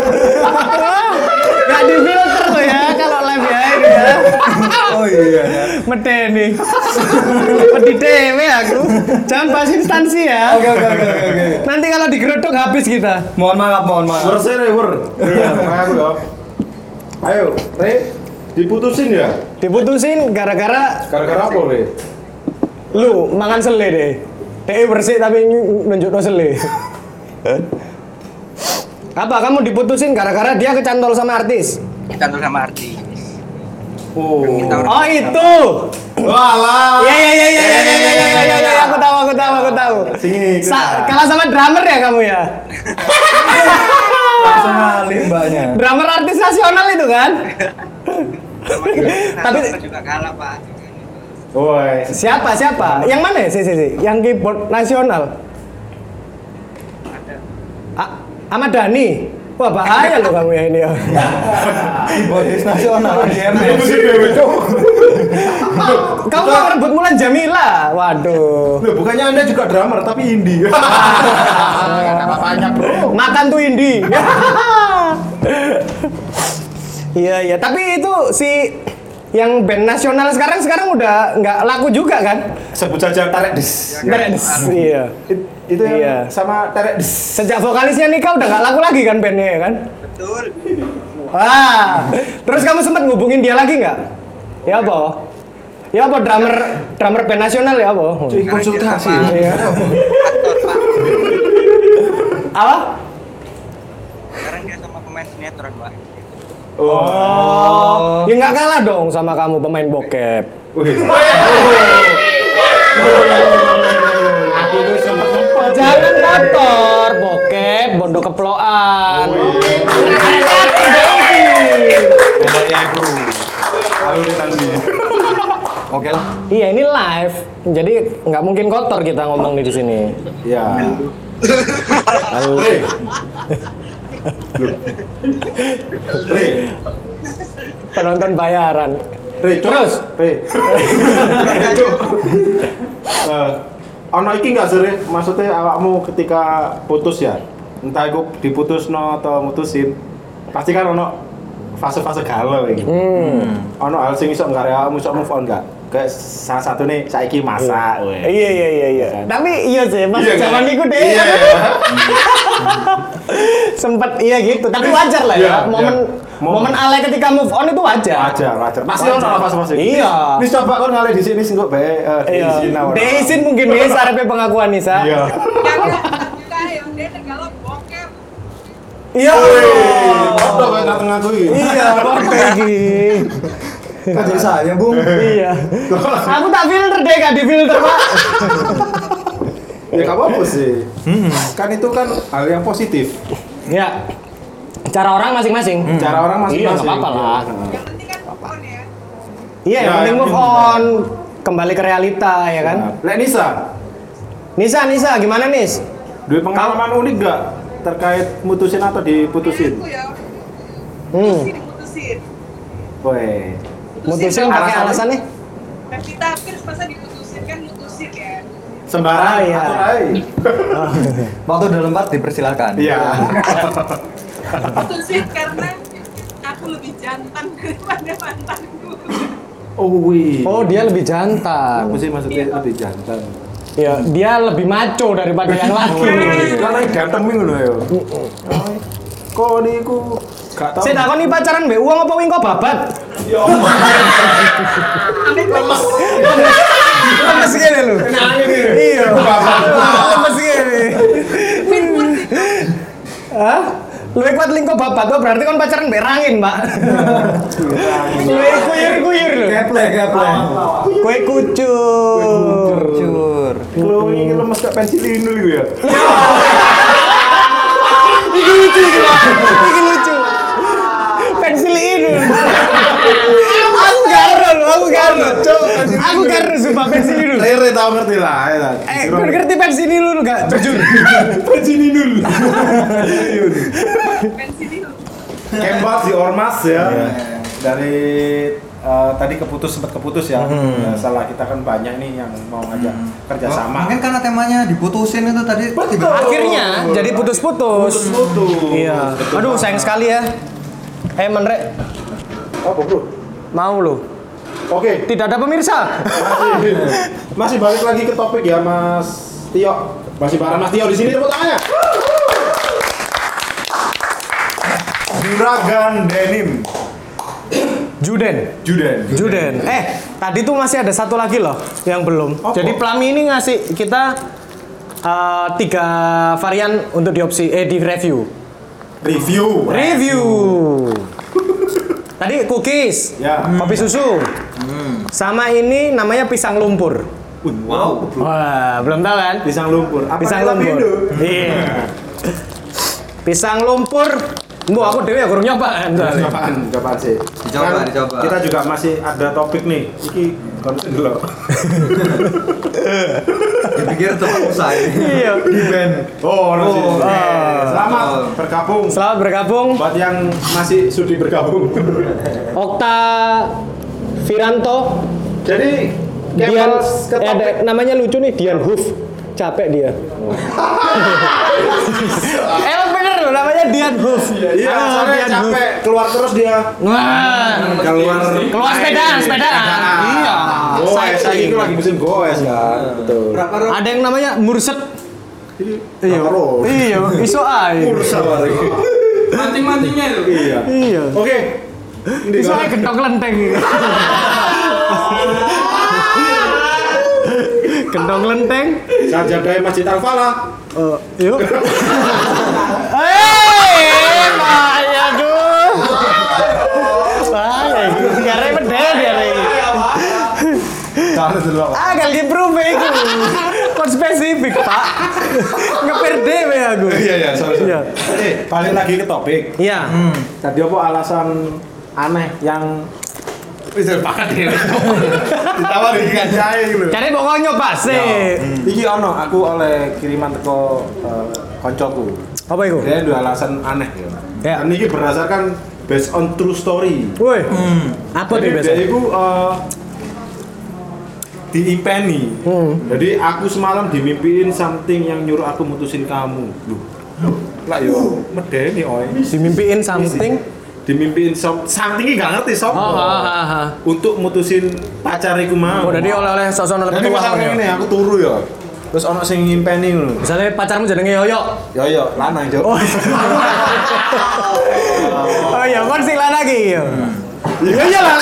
S1: Gak di filter tuh ya kalau live ya ini ya.
S3: oh iya
S1: Medeni. Medi dewe aku. Jangan bahas instansi ya.
S3: oke oke oke oke, oke
S1: Nanti kalau digerodok habis kita.
S3: mohon maaf mohon maaf
S2: Wur sih, wur. Iya, makanya aku ya.
S8: Ayo, Re. Diputusin ya?
S1: Diputusin gara-gara
S8: Gara-gara apa, Re?
S1: lu mangan sele deh. Dek bersih tapi nunjuk sele. Apa kamu diputusin gara-gara dia kecantol sama artis?
S7: Cantul sama artis.
S2: Oh.
S1: Oh itu.
S2: Walah.
S1: Ya ya ya ya ya ya ya ya ya ya aku tahu aku tahu aku tahu.
S2: Sini.
S1: Sa- kalah sama drummer ya kamu ya?
S3: langsung ngalim mbaknya
S1: Drummer artis nasional itu kan?
S7: Sama juga-
S1: Tapi-
S7: sama juga kalah pak.
S2: Woi.
S1: Siapa siapa? Yang mana ya? Si si si. Yang keyboard nasional. A- Ahmad Dhani. Wah bahaya loh kamu ya ini ya.
S3: boys nasional GMS
S2: Diputusin dewe, Cok.
S1: Kamu mau merebut Mulan Jamila. Waduh.
S2: Loh, bukannya Anda juga drummer tapi indie. Banyak, Bro.
S1: Makan tuh Indi. Iya iya, tapi itu si yang band nasional sekarang sekarang udah nggak laku juga kan?
S2: Sebut saja Tarek Des.
S1: Beres.
S7: anu.
S1: Iya.
S2: Ya. It- Itu
S1: Iya.
S2: yang sama Tarek Des.
S1: Sejak vokalisnya nikah udah nggak laku lagi kan bandnya ya kan?
S7: Betul.
S1: Wah. Terus kamu sempat ngubungin dia lagi nggak? Ya apa? Ya apa drummer drummer band nasional ya apa?
S7: konsultasi.
S1: Iya.
S7: Aktor pak.
S1: Apa?
S7: Sekarang dia sama pemain sinetron pak.
S1: Oh. Ya nggak kalah dong sama kamu pemain bokep.
S2: Wih. Aku tuh sempat sempat.
S1: Jangan kotor, bokep, bondo keploan.
S2: Oh, iya. Aku tadi.
S3: oke lah
S1: Iya, ini live. Jadi nggak mungkin kotor kita ngomong di sini.
S2: Ya.
S1: Lalu
S2: Re. Re.
S1: penonton bayaran.
S2: Re,
S1: Terus?
S2: Re. Cuk. Eh, Ono iki nggak sih, Re? Maksudnya awakmu ketika putus ya, entah iku diputus atau mutusin, pasti kan ono fase-fase galau iki.
S1: Hmm.
S2: Ono hal sing iso nggak awakmu iso move on nggak? Kayak salah satu nih, saiki masak, weh.
S1: Iya iya iya iya. Tapi iya sih, pas
S2: Iya,
S1: zaman ya.
S2: kan?
S1: itu deh.
S2: Iya.
S1: Sempet iya gitu, tapi wajar lah
S2: Iya,
S1: ya. Momen
S2: iya.
S1: momen alay ketika move on itu wajar.
S2: Wajar, wajar. Pasti ono lah fase-fase. iki.
S1: Iya.
S2: Nis coba kon ngalih di sini sing kok bae eh, di
S1: Iya.
S2: sini awak.
S1: Deisin mungkin nih sarepe pengakuan Nisa.
S2: Iya.
S7: Kita yang ya, dia tergalau bokep.
S1: Iya.
S2: Foto bae nang tengah kuwi.
S1: Iya, kok kayak gini.
S3: Kan jadi saya, Bung.
S1: Iya. Aku tak filter deh, gak di filter pak.
S2: Ya nggak apa-apa sih.
S1: Hmm.
S2: Kan itu kan hal yang positif.
S1: Ya. Cara orang masing-masing.
S2: Cara
S1: Iya,
S2: orang masing-masing. Iya.
S1: nggak apa-apa lah.
S7: Yang penting kan bukan ya.
S1: Iya, yang
S2: Ya,
S1: penting
S2: yang
S1: move
S2: penting.
S1: on, kembali ke realita ya kan.
S2: Lek Nisa,
S1: Nisa, Nisa, gimana Nis?
S2: duwe pengalaman unik nggak terkait mutusin atau diputusin?
S7: Aku ya.
S1: Hmm.
S7: Diputusin, diputusin.
S2: Woi.
S1: Mutusin pakai
S2: alasannya?
S1: alasannya?
S7: Kan kita Pierce masa diputusin kan mutusin ya.
S2: Sembarang
S1: Ah, iya.
S2: atur ae.
S3: Waktu udah lempar dipersilakan.
S2: Iya.
S7: Mutusin karena aku lebih jantan daripada mantanku.
S2: Oh wih.
S1: Oh, dia lebih
S2: Aku
S1: jantan.
S2: sih maksudnya lebih jantan.
S1: Ya, dia lebih maco daripada yang laki.
S2: Kan lagi ganteng minggu lho ya. Kok niku gak tau.
S1: Saya takon nih pacaran be uang apa wing kok babat? Ya Allah. Lemes. Lemes gini lu. Iya. Babat. Lemes gini. Hah? Lu kuat lingko babat, tuh berarti kan pacaran be rangin, Mbak. Lu kuyur-kuyur lu.
S3: Keple, keple.
S1: Kue kucur.
S3: Cur.
S2: Lu ini lemes gak pensil ini lho ya.
S1: Ini lucu, ini lucu. Ini lucu. Pensil ini. aku garo loh, aku garo. Aku garo sumpah pensil ini.
S2: Lere tau ngerti lah. ya lah.
S1: Eh, kau ngerti pensil ini lu nggak? Jujur.
S2: Pensil ini lho.
S7: Pensi dulu.
S2: Kembat di ormas ya. Dari eh, tadi keputus sempat keputus ya. Ya, salah kita kan banyak nih yang mau ngajak kerjasama.
S3: Mungkin karena temanya diputusin itu tadi tiba-tiba
S1: Akhirnya jadi putus-putus.
S2: Putus.
S1: Iya.
S2: Betul
S1: Aduh,
S2: banget.
S1: sayang sekali ya. Eh, Menrek,
S2: Apa bro?
S1: mau lu?
S2: Oke.
S1: Tidak ada pemirsa.
S2: Masih, masih balik lagi ke topik ya Mas Tio. Masih bareng Mas Tio di sini tepuk tangannya. Juragan Denim
S1: Juden.
S2: Juden.
S1: Juden. Eh, tadi tuh masih ada satu lagi loh yang belum.
S2: Apa?
S1: Jadi Plami ini ngasih kita eh, tiga varian untuk diopsi eh di review.
S2: Review.
S1: Review. tadi cookies,
S2: Ya. Hmm.
S1: kopi susu. Sama ini namanya pisang lumpur.
S2: Wow.
S1: Wah, belum tahu kan?
S2: Pisang lumpur. Apa
S1: Pisang
S2: kita
S1: lumpur.
S2: Indo?
S1: Iya. Pisang lumpur. Mbok aku dewe ya kurang nyoba kan soalnya.
S2: Apaan? Apaan sih? Kan
S3: Dicoba, dicoba.
S2: Kita juga masih ada topik nih. Iki konsen dulu.
S3: dipikir tuh aku saya.
S1: Iya.
S2: Di band. Oh, orang sini.
S3: Oh,
S2: Eh, Selamat bergabung.
S1: Selamat bergabung.
S2: Buat yang masih sudi bergabung.
S1: Okta Firanto
S2: Jadi
S1: Dian
S2: Kemals ke
S1: eh, ada,
S2: topik.
S1: namanya lucu nih Dian Hoof capek dia eh bener loh namanya Dian Hoof
S2: Iya,
S1: Ah,
S2: soalnya
S1: Dian Hoof.
S2: capek keluar terus dia
S1: Wah,
S2: keluar
S1: keluar sepedaan, sepedaan. Iya.
S2: Goes,
S1: Cycling.
S2: lagi itu lagi musim goes kan. Betul.
S3: Berapa round?
S1: ada yang namanya murset iya
S2: Terus.
S1: iya iso ae
S2: Bursa lagi.
S10: Mancing-mancingnya itu.
S2: Iya.
S1: iya
S2: Oke. Ini
S1: iso
S2: kan.
S1: ae gentok lenteng gendong lenteng
S2: Sarjana Masjid Al Falah.
S1: Eh, yuk. Eh, Maya aduh. Maya, gara medel ya re.
S2: Tahan dulu.
S1: Ah, gak diimprove iku. Kon spesifik, Pak. Ngepir dhewe aku.
S2: Iya iya, sorry. sorry.
S1: Iya.
S2: Oke, balik lagi ke topik.
S1: Iya.
S2: Tadi apa alasan aneh yang bisa pakai deh. Ditawar iki kan jahe gitu.
S1: Jadi pokoknya nyoba sih.
S2: Iki ono aku oleh kiriman teko eh, koncoku.
S1: Apa itu?
S2: Dia dua alasan aneh ya.
S1: Ya.
S2: Dan ini berdasarkan based on true story.
S1: Woi. Apa tuh
S2: Jadi
S1: biasa?
S2: dia itu eh, diimpeni.
S1: Hmm.
S2: Jadi aku semalam dimimpiin something yang nyuruh aku mutusin kamu. Loh. Lah yo medeni oi.
S1: Dimimpiin something.
S2: Dimimpiin som something gak ngerti sopo.
S1: Oh, ah, ah, ah.
S2: Untuk mutusin pacariku mau.
S1: Oh, jadi oleh-oleh sosok nolak
S2: Jadi misalnya
S1: ya.
S2: ini aku turu ya. Terus ono sing ngimpeni ngono.
S1: Misalnya pacarmu jenenge Yoyo.
S2: Yo yo lanang yo.
S1: Oh. oh iya, kon sing lanang iki ya. Iya iya lah.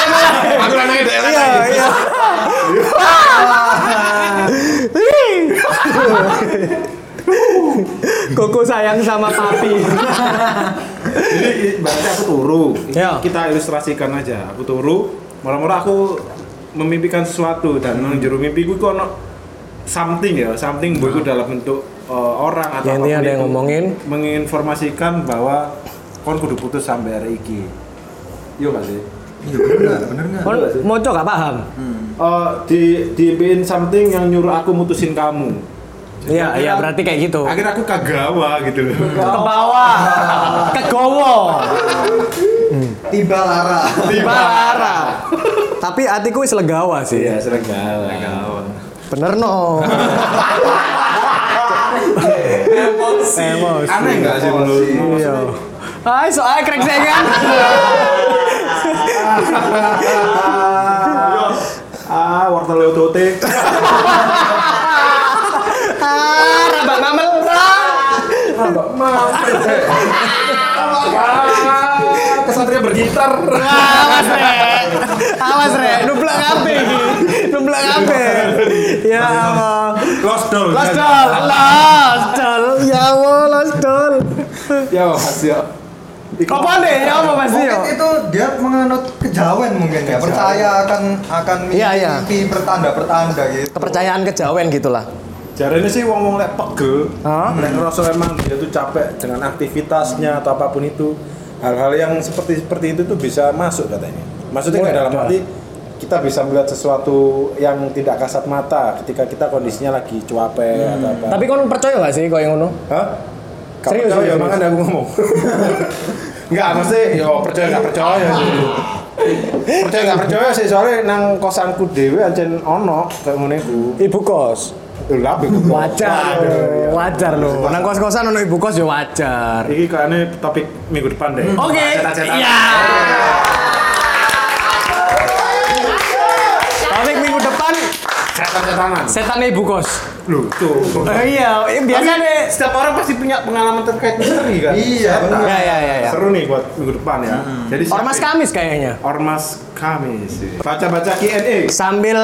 S1: Aku lanang iki. Iya iya. Ih. Koko sayang sama papi.
S2: Jadi i- berarti aku turu.
S1: Ya.
S2: Kita ilustrasikan aja. Aku turu, murah-murah aku memimpikan sesuatu dan hmm. juru mimpiku kok ono something ya, something buku dalam bentuk uh, orang atau
S1: Ya, intinya ada
S2: apapun
S1: Nah. yang
S2: itu.
S1: ngomongin.
S2: menginformasikan bahwa kon kudu putus sampai hari iki. Iya gak sih?
S3: Iya bener nggak? Bener nggak?
S1: Kon moco gak paham.
S2: Eh, di diimpiin something yang nyuruh aku mutusin kamu.
S1: Iya iya berarti kayak gitu.
S2: Akhirnya aku kagawa gitu loh.
S1: Ke bawah. Ke gowo.
S3: Tiba Lara.
S1: Balara. Tapi hatiku wis legawa sih.
S2: Iya, sering kagawa.
S1: Bener no. Emosi.
S2: Aneh gak sih menurutmu?
S1: Iya. Hai, soalnya krek kan? sengan.
S2: Ah, wortel otote.
S1: Ah, rabak mamel.
S2: Kesatria bergitar.
S1: Wah, awas rek. Awas rek, nublek kabeh iki. Nublek kabeh. Ya Allah.
S2: Lost doll.
S1: Los dol, los dol. Ya Allah, los dol.
S2: Ya, Mas ya.
S1: Apa nih? Ya apa Mas
S3: Mungkin
S1: Yo?
S3: itu dia menganut kejawen mungkin ya. Percaya akan akan mimpi,
S1: Iya, iya.
S3: mimpi pertanda-pertanda gitu.
S1: Kepercayaan kejawen gitulah.
S2: Jarene sih wong-wong lek pegel,
S1: Hah?
S2: lek ngerasa emang dia tuh capek dengan aktivitasnya atau apapun itu. Hal-hal yang seperti seperti itu tuh bisa masuk katanya. Maksudnya nggak dalam arti kita bisa melihat sesuatu yang tidak kasat mata ketika kita kondisinya lagi cuape atau apa.
S1: Hmm. Tapi kon percaya gak sih koyo ngono?
S2: Hah? Gak
S1: Serius,
S2: percaya,
S1: serius,
S2: makanya aku ngomong Enggak, mesti yo percaya gak percaya sih. percaya gak percaya sih, soalnya nang kosanku dewe ancen ono kayak ngene iku.
S1: Ibu kos.
S2: Lho, lha apa iku?
S1: Wajar.
S2: Waduh, ya.
S1: Wajar loh. Nang kos-kosan ono ibu kos ya wajar.
S2: Iki kayaknya topik minggu depan deh.
S1: Oke.
S2: Cetak-cetak.
S1: Iya. Topik minggu depan
S2: Cetak-cetakan.
S1: setan ibu kos.
S2: Lho, tuh. Eh,
S1: iya, biasa deh.
S2: Setiap orang pasti punya pengalaman terkait misteri kan.
S3: Iya benar.
S1: Ya ya ya ya.
S2: Seru nih buat minggu depan ya. Jadi siapa-
S1: Ormas Kamis kayaknya.
S2: Ormas kami sih. Baca-baca Q&A.
S1: Sambil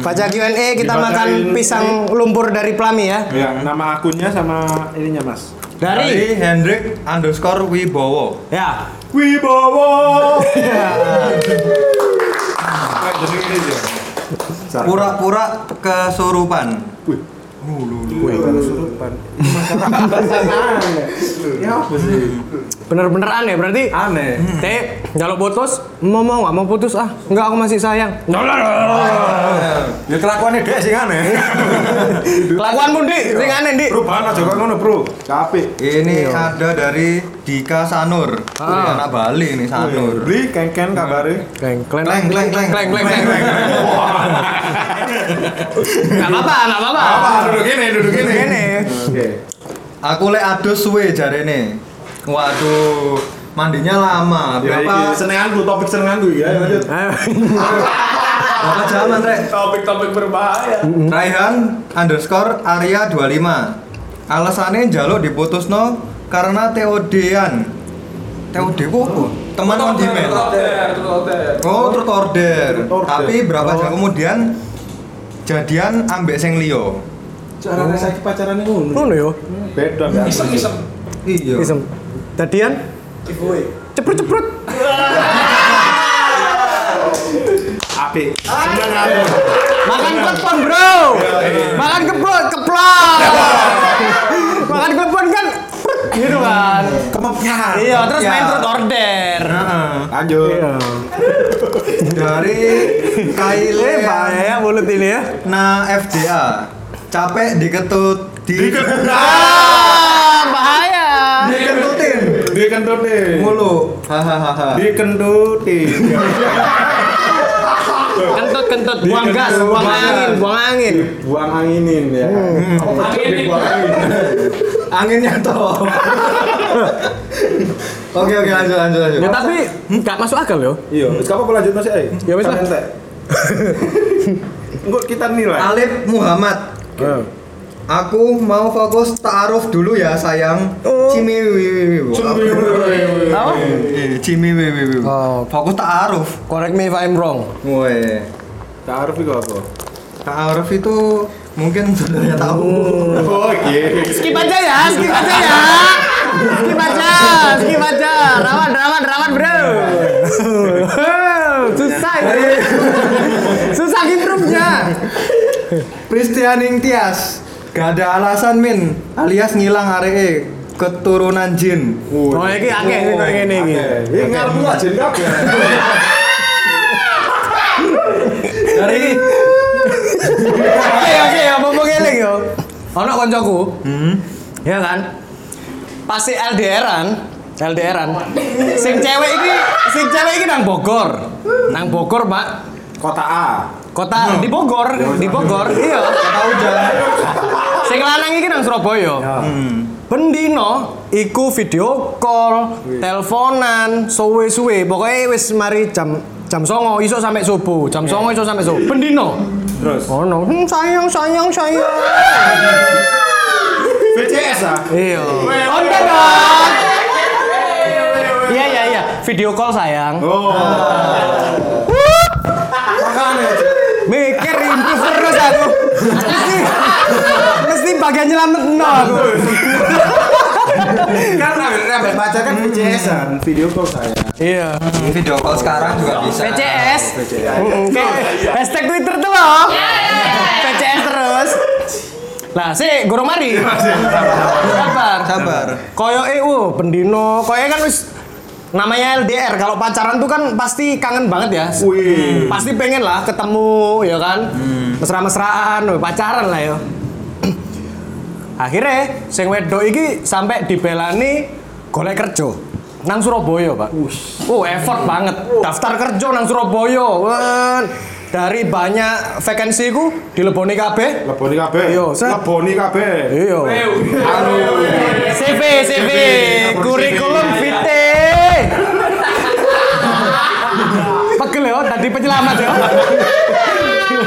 S1: baca Q&A kita
S2: Dibacain
S1: makan
S2: ini.
S1: pisang lumpur dari Plami ya.
S2: Ya, nama akunnya sama ininya, Mas.
S1: Dari
S3: Hendrik underscore Wibowo.
S1: ya.
S2: Wibowo. Kayak jadi ini aja. Sarah.
S3: Pura-pura kesurupan.
S2: Wih.
S3: Wih.
S2: Kesurupan. Ya apa sih?
S1: Bener-bener aneh ya, berarti
S2: Aneh.
S1: Teh, kalau putus, mau mau nggak mau putus ah, nggak aku masih sayang.
S2: Ya kelakuannya dia sih aneh.
S1: Kelakuanmu dik, sing aneh dik.
S2: Bro, banget aja kok ngono, Bro. Capek.
S3: Ini ada dari Dika Sanur.
S2: Ah.
S3: Ini anak Bali nih Sanur.
S2: Beli kengken kabare.
S1: Kleng, kleng,
S3: Kleng, kleng, kleng.
S1: kleng, kleng, kleng. Nggak apa-apa, nggak apa-apa.
S3: duduk ini, duduk
S1: Ini.
S2: Oke.
S3: Aku lek adus suwe jarene. Waduh, mandinya lama.
S2: Ya
S3: Berapa?
S2: iki senenganku, topik senenganku ya. lanjut.
S3: Berapa jaman, Rek?
S2: Topik-topik berbahaya.
S3: Raihan underscore Arya 25 Alasannya jaluk diputusno karena TOD-an TOD ku apa? Teman on demand Oh, truth
S2: order.
S3: order Tapi berapa jam kemudian jadian ambek sing liyo
S2: Caranya saya pacaran
S1: Ngono yo.
S2: Beda ya.
S3: Iya
S1: Isem. Dadian? Ceprut-ceprut.
S2: Apik. Seneng aku.
S1: Makan klepon, Bro. Makan keplon, keplon. Makan klepon kan prut, gitu kan.
S3: Kemepnya
S1: Iya, terus Iya. main truth order.
S2: Lanjut.
S3: Dari Kaile
S1: Eh, bahaya mulut ini ya.
S3: Nah FDA Capek diketut di
S2: Dikentut.
S1: Ah, bahaya.
S3: Diketutin
S2: Dikentut deh.
S3: mulu Hahaha.
S11: dikenduti
S1: kentut kentut buang gas buang angin buang angin
S11: buang anginin ya
S2: Hmm.
S3: Anginnya toh. Oke oke lanjut lanjut lanjut.
S1: ya tapi nggak masuk akal loh
S11: iya terus kamu lanjut masih ayo
S1: Ya, wis lah.
S11: Sampai entek. Enggak kita nilai
S3: Alif Muhammad. Aku mau fokus taaruf dulu ya sayang. Cimiwiwiwi.
S1: Apa?
S3: Eh, Cimiwiwiwi.
S1: Oh.
S3: Fokus taaruf.
S1: correct me if I'm wrong
S3: Woi.
S11: Ta'aruf itu apa?
S3: Taaruf itu mungkin sebenarnya tahu.
S11: Oh iya
S1: skip aja ya skip aja ya skip aja skip aja rawan rawan rawan bro susah ini susah improve-nya
S3: Pristianing Tias. Gak ada alasan min alias ngilang aree keturunan jin.
S1: oh ini akeh ini kayak gini ini
S11: Ini ngarep lu aja enggak
S3: Dari
S1: oke oke apa mau ngeling yo ono koncoku ya kan pasti LDRan LDRan sing cewek ini sing cewek ini nang Bogor nang Bogor pak
S11: Kota A
S1: kota di Bogor di Bogor iya kota hujan Iya. sing lanang iki nang Surabaya Pendino iku video call, teleponan, suwe-suwe. Pokoknya wis mari jam jam songo iso sampe subuh, jam songo iso sampe subuh. Pendino. Terus. Oh no, hmm, sayang sayang sayang.
S11: BCS ah
S1: Iya. Onten dong. Iya iya iya, video call sayang. Mikir improve terus aku. Mesti mesti bagian nyelamet no aku.
S11: Kan ambil pacar kan BCS an Video call saya
S1: Iya.
S3: video call sekarang juga bisa.
S1: PCS. Mm-mm, kayak Hashtag Twitter tuh loh. PCS terus. Lah, sih, gorong mari. Iya, Sabar.
S3: Sabar.
S1: Koyo EU, pendino, koyo kan wis namanya LDR. Kalau pacaran tuh kan pasti kangen banget ya.
S11: Wih.
S1: Pasti pengen lah ketemu, ya kan? Mesra-mesraan, wih, pacaran lah ya. Akhirnya, sing wedok iki sampai dibelani golek kerja nang Surabaya, Pak. Oh, effort banget. Daftar kerja nang Surabaya. Wen. Dari banyak vakansi ku dileboni kabeh.
S11: Leboni kabeh
S1: Iya, set.
S11: Leboni kabeh
S1: Iya.
S11: Aduh
S1: CV, CV, kurikulum vitae. Pegel ya, tadi penyelamat ya.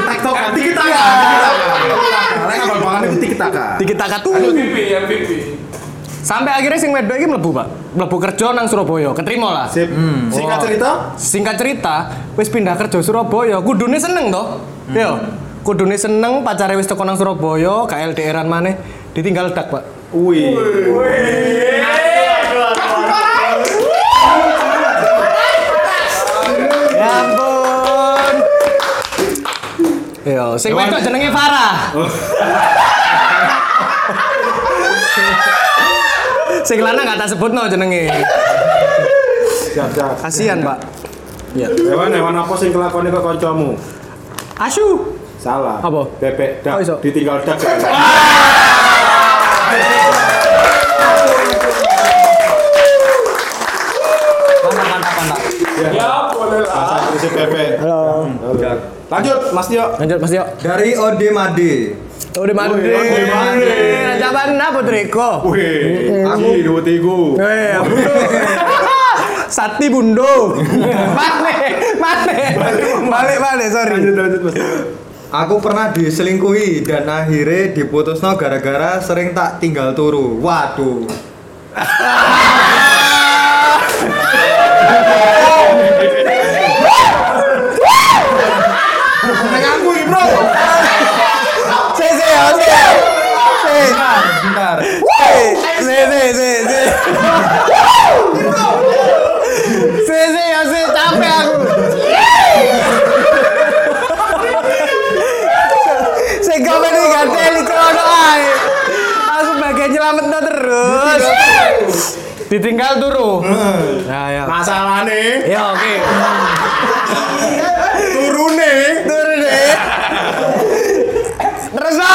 S11: Tiktok Tiki taka Lek abal pangan itu tiki taka
S1: Dikit takat tuh. Sampai akhirnya sing wedok iki mlebu, Pak. Mlebu kerja nang Surabaya, keterima lah.
S11: Sip
S1: Hmm.
S11: Singkat cerita
S1: Singkat cerita, wis pindah kerja Surabaya, kudune seneng toh. Yo. Kudune seneng pacare wis teko nang Surabaya, gak LDR-an maneh, ditinggal dak, Pak.
S11: Wih
S1: Ya ampun. Yo, sing wedok jenenge Farah. sing lanang gak tak sebutno jenenge.
S11: Siap siap
S1: Kasihan, Pak.
S11: Hewan hewan apa sing kelakoni kok kancamu?
S1: Asu.
S11: Salah
S1: Apa?
S11: Bebek dak
S1: Oh, iso.
S11: Ditinggal dak
S3: Oh,
S1: Mantap, mantap, mantap.
S11: Bahasa Inggrisnya bebek
S1: Halo.
S11: Lanjut Mas Tio
S1: Lanjut Mas Yo. Oh, iya.
S3: Dari Ode Made.
S1: Udah mandi.
S11: udah mandi.
S1: Raja Bana Putriko.
S11: Wih Aku Dua tiga
S1: Eh, Bundo. Sati Bundo. Mane, mane. Balik, balik, sorry.
S11: Lanjut lanjut Mas Tio
S3: Aku pernah diselingkuhi dan akhirnya diputusno gara-gara sering tak tinggal turu. Waduh.
S1: Si, si, oke. Si.
S3: Bentar.
S1: Si, si, si, si. Si, si, ya, si, capek aku. Si komen ini gak teli cerono ae. Aku sebagai nyelamet no terus. Ditinggal turu. Ya, ya.
S11: Masalahnya
S1: Ya, oke. Turune, turune. Terus no.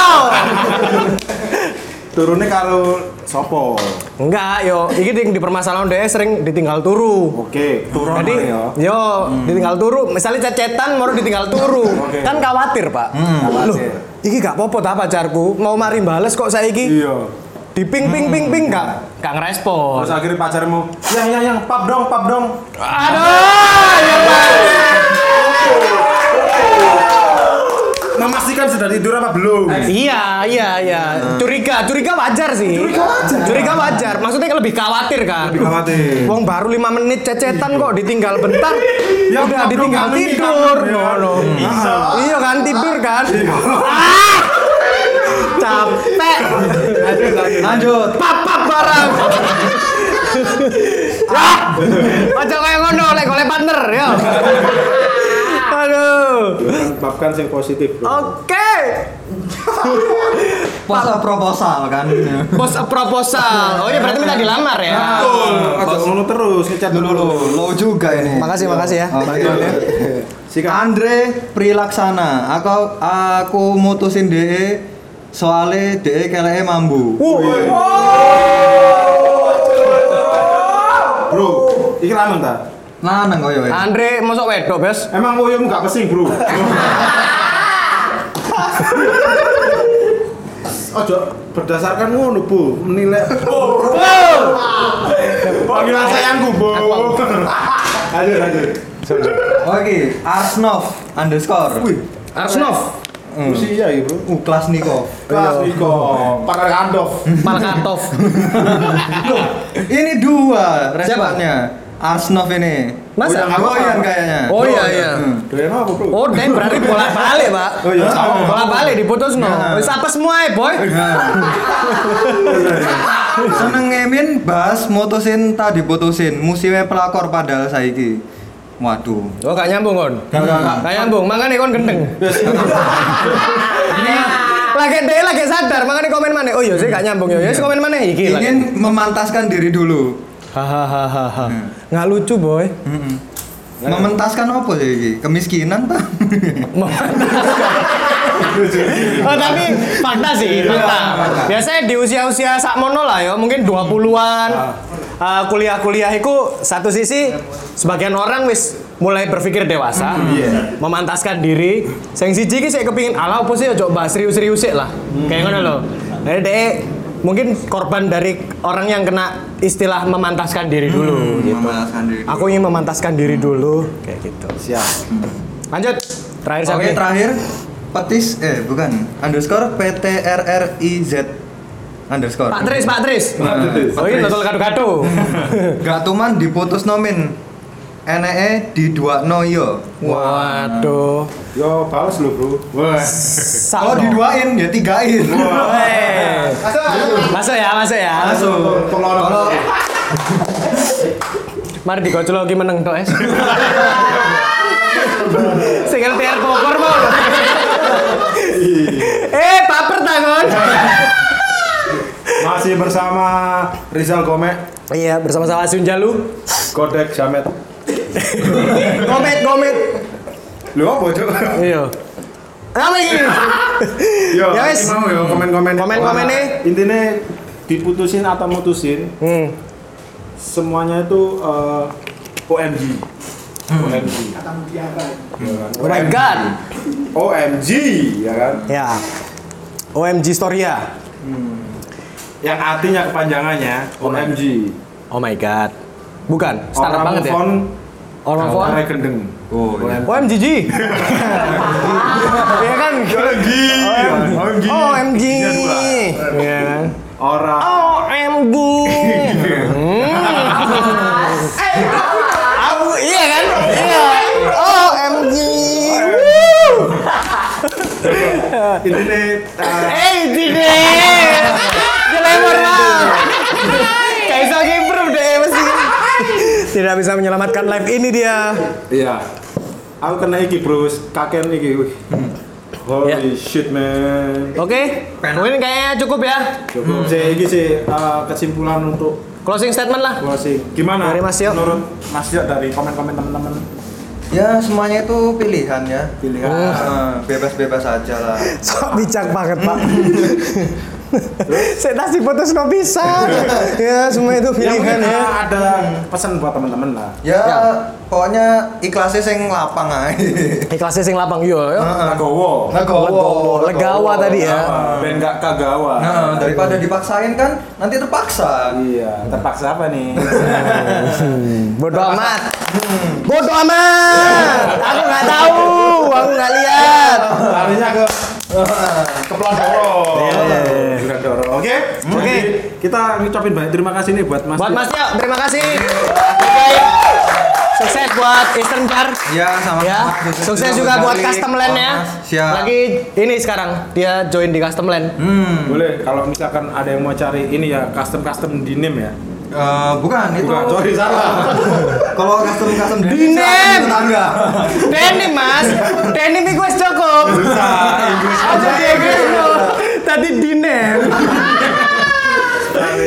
S2: turunnya karo sopo.
S1: Enggak, yo, iki ding dipermasalahan deh sering ditinggal turu.
S2: Oke, turun
S1: Jadi,
S2: ya.
S1: yo, ditinggal turu. Misalnya cecetan, baru ditinggal turu.
S2: Oke.
S1: Kan khawatir, Pak. Loh, iki gak apa-apa ta pacarku. Mau mari bales kok saiki.
S2: Iya.
S1: Di ping ping ping ping gak gak ngerespon.
S2: Terus akhirnya pacarmu, yang yang yang pap dong, pap dong. Iya,
S1: Aduh, ya Pak.
S2: Nah, Memastikan sudah tidur apa belum?
S1: Iya, iya, iya. Curiga, curiga wajar sih. Curiga wajar. Curiga wajar. Maksudnya lebih khawatir kan.
S2: Lebih khawatir.
S1: Wong baru 5 menit cecetan kok ditinggal bentar. Ya udah ditinggal
S2: belum
S1: tidur.
S2: menit,
S1: Ya Allah.
S3: Hmm.
S1: Iya kan tidur kan. Ah! Capek.
S3: Lanjut.
S1: Papap barang. Ah! Aja kayak ngono lek golek partner ya. Aduh.
S2: Papkan sing positif. Bro.
S1: Oke.
S3: Posa proposal kan.
S1: Bos proposal. Oh iya berarti minta dilamar ya.
S2: Betul. Aja ngono terus, ngecat
S3: Dulu
S2: dulu.
S3: lo, lo juga ini.
S1: Makasih, makasih ya.
S3: Oh, lanjut ya. Andre Prilaksana, aku aku mutusin DE soalnya DE keleke e mambu.
S1: Uh.
S2: Bro, iki lanang ta?
S3: Lanang kok ya.
S1: Andre masuk wedok, Bos.
S2: Emang woyom gak pesing, Bro. Ojo berdasarkan ngono, Bu. Menilai. Panggilan sayangku, Bu. Lanjut, lanjut.
S3: Oke, Arsnov underscore. Hmm.
S1: Arsnov,
S2: Usia ya, Bro.
S3: Uh, Iya. kelas Niko.
S2: Kelas Niko, para kandof.
S1: Malkatov.
S3: Ini dua responnya. Arsnov ini.
S1: Masa?
S3: Goyang- Goyang kayaknya.
S1: Oh iya iya.
S3: Hmm.
S2: Doyan apa, Bro?
S1: Oh, dan berarti bolak-balik, Pak.
S2: Oh iya, sama.
S1: Bolak-balik diputus no. Wis apa semua ya, boy?
S3: Nah. Seneng ngemin bahas mutusin tadi putusin musimnya pelakor padahal saiki. Waduh.
S1: Oh, gak nyambung, Kon.
S3: Gak, gak, gak.
S1: Gak nyambung, makanya kon gendeng. Lagi deh, lagi sadar, makanya komen mana? Oh iya, sih gak nyambung ya. Yes, komen mana? Iki lagi.
S3: Ingin memantaskan diri dulu.
S1: Hahaha.
S3: Hmm.
S1: Nggak lucu, boy.
S3: Mm-mm.
S1: Iya.
S3: Mementaskan apa sih iki? Kemiskinan ta?
S1: Gitu. Oh, tapi fakta sih, fakta. Biasanya di usia-usia sakmono lah ya, mungkin 20-an. eh, kuliah-kuliah itu satu sisi sebagian orang wis mulai berpikir dewasa, memantaskan diri. Sing siji iki saya kepingin ala opo sih ojo bahas serius-serius sik lah. Kayak ngono lho. Jadi dek mungkin korban dari orang yang kena istilah memantaskan diri dulu
S3: Hmm.
S1: gitu.
S3: Memantaskan diri.
S1: Aku ingin memantaskan diri dulu kayak gitu. Siap. Lanjut. Terakhir siapa
S3: Oke
S1: nih?
S3: terakhir petis eh bukan underscore PTRRIZ underscore.
S1: Pak Tris, Pak Tris.
S3: Nah,
S1: Oh iya, total kado-kado.
S3: Gatuman E diputus nomin. Enee di dua noyo.
S1: Waduh.
S2: Yo, balas lu, Bro. Wah.
S3: Oh
S1: Sakno.
S3: diduain ya tigain.
S1: Weh. Eh. Masuk ya, masuk ya.
S3: Langsung. Kalau
S1: Mari digocol lagi meneng tok, Es. Sing ngerti air pokor mau. lho. Eh, paper tangon.
S2: Masih bersama Rizal Gomek,
S1: Iya, bersama sama Sunjalu.
S2: Kodek Jamet.
S1: Gomit, gomit.
S2: Lu apa, Cuk?
S1: Iya. Apa ini?
S2: Yo,
S1: Ya wis.
S2: mau yo komen-komen.
S1: Komen-komennya.
S2: Intinya diputusin atau mutusin,
S1: Hmm.
S2: semuanya itu eh, OMG. OMG. Ya kan?
S1: Hmm. Oh my god.
S2: OMG, ya kan?
S1: Ya. OMG Storia.
S2: Yang artinya kepanjangannya OMG.
S1: Oh my god. Bukan, standar
S2: Orang
S1: banget ya.
S2: move on,
S1: Orang
S2: orang
S1: phone.
S2: gendeng.
S3: Oh, iya.
S1: OMGG. Iya kan? Oh,
S2: OMG. OMG.
S1: OMG.
S2: Iya, dua.
S1: Iya kan? Oh,
S2: Orang
S1: OMG. Hmm. Aku iya kan? Iya. OMG. Woo.
S2: intinya eh,
S1: Eh, ini deh. Jelekor banget. Kayak bisa improve deh mesti. Tidak bisa menyelamatkan live ini dia.
S2: Iya. Aku kena iki, Bro. Kaken iki. wih. Holy
S1: Hmm. Ya.
S2: shit, man.
S1: Oke, mungkin kayaknya cukup ya.
S2: Cukup sih iki sih eh, kesimpulan untuk
S1: Closing statement lah.
S2: closing. Gimana?
S1: Dari Mas Yo.
S2: Menurut Mas Yo dari komen-komen teman-teman.
S3: Ya semuanya itu pilihan ya.
S2: Pilihan.
S3: Eh, Bebas-bebas aja lah.
S1: Sok bijak banget, Pak. Saya tak putus no bisa. ya semua itu pilihan
S2: Yang penting,
S1: ya.
S2: ah, ada pesan buat teman-teman lah.
S3: ya,
S1: Ya.
S3: pokoknya ikhlasnya sing lapang aja
S1: Ikhlasnya sing lapang yo. yo.
S2: Legowo.
S3: Oh,
S1: Legowo, legawa tadi ya.
S2: Ah, Ben gak
S1: Ah.
S2: kagawa.
S3: Nah, daripada dipaksain kan nanti terpaksa.
S2: Iya, terpaksa apa nih?
S1: Bodoh amat. Bodoh amat. Aku nggak tahu. Aku nggak lihat.
S2: Larinya ke
S1: Oh.
S2: kepelon dorong. Kepelon Iya, dorong. Oke. Oke. Kita ngucapin banyak terima kasih nih buat Mas.
S1: Buat
S2: Dio.
S1: Mas Tio, terima kasih. Sukses buat Eastern Car.
S3: Ya, sama
S1: Ya, sukses juga buat custom land ya.
S3: Siap.
S1: Lagi ini sekarang dia join di custom land.
S3: Hmm,
S2: Boleh kalau misalkan ada yang mau cari ini ya custom-custom denim ya.
S3: eh, bukan itu.
S1: Oh.
S2: Bukan, sorry salah.
S3: Kalau custom custom
S1: Denim!
S3: tetangga.
S1: Denim mas, denim itu wes cukup. Aku di Inggris bro. Tadi dinem.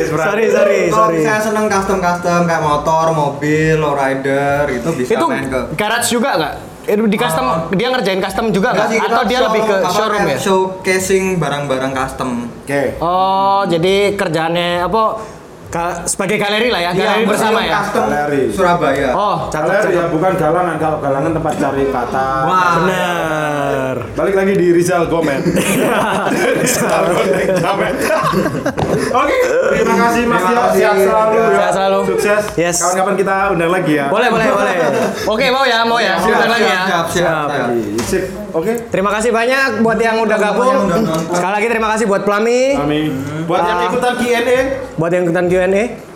S1: Sorry sorry
S3: Kalau
S1: sorry.
S3: saya seneng custom custom kayak motor, mobil, lowrider itu bisa
S1: Itu
S3: main ke.
S1: garage juga nggak? Itu di custom dia ngerjain custom juga
S3: Enggak
S1: nggak?
S3: sih, kita
S1: Atau dia
S3: show-
S1: lebih ke
S3: apa,
S1: showroom
S3: kayak
S1: ya?
S3: Showcasing barang-barang custom.
S2: Oke.
S1: Oh jadi kerjaannya apa? Ka- sebagai galeri lah ya, galeri
S3: Iya,
S1: bersama
S3: museum
S1: ya.
S3: Custom
S2: Galeri.
S3: Surabaya.
S1: Oh,
S2: Galer ya bukan galangan kalau galangan tempat cari kata.
S3: Wah.
S1: bener.
S2: Balik lagi di Rizal Gomez. Rizal Gomez. Oke, terima kasih Mas
S3: Terima
S2: Tio.
S3: kasih.
S2: Sehat selalu. ya.
S1: Sehat selalu.
S2: Sukses.
S1: Yes.
S2: Kapan-kapan kita undang lagi ya.
S1: Boleh, boleh, boleh. Oke, mau ya, mau ya.
S3: Siap,
S1: Sebentar lagi ya.
S3: siap, siap, siap.
S2: Sip. Oke.
S1: Terima kasih banyak buat yang udah gabung.
S3: Yang udah nonton.
S1: Sekali lagi terima kasih buat Plami,
S2: Kami buat yang
S1: Ah.
S2: ikutan Q&A
S1: buat yang ikutan Q&A.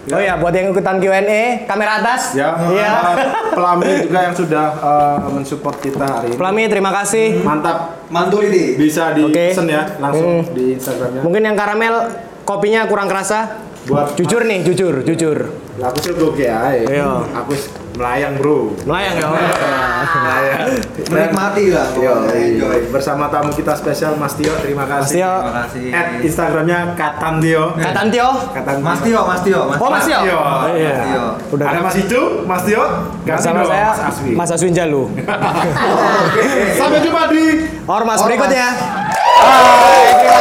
S1: Oh ya, buat yang ikutan Q&A, kamera atas.
S2: ya,
S1: Iya.
S2: ah, Pelami juga yang sudah eh, mensupport kita hari ini.
S1: Plami, terima kasih.
S2: Mantap.
S3: Mantul ini.
S2: Bisa di
S1: Oke.
S2: pesen ya langsung
S1: Mm.
S2: di Instagramnya.
S1: Mungkin yang karamel kopinya kurang kerasa.
S2: Buat
S1: Jujur nih, jujur, jujur.
S2: Lah, aku sih oke ae.
S1: Iya.
S2: Aku s- melayang, Bro.
S1: Melayang ya.
S2: Melayang.
S3: Menikmati lah.
S2: Yo,
S1: Iya.
S3: enjoy.
S2: bersama tamu kita spesial Mas Tio, terima
S1: Mas
S2: kasih.
S1: Tio,
S3: Terima kasih.
S2: At Instagramnya Katan Tio.
S1: Katan Tio.
S2: Katan
S3: Mas Tio, Mas Tio, Mas
S1: Oh, Mas Tio.
S2: Tio.
S1: Iya.
S3: Tio.
S1: Udah.
S2: Ada Mas Icu, Mas Tio, Kak
S1: Bersama
S2: Tino,
S1: saya,
S2: Mas Aswi.
S1: Mas Aswin Jalu.
S2: Sampai jumpa di
S1: Ormas berikut ya.
S3: Bye. Terima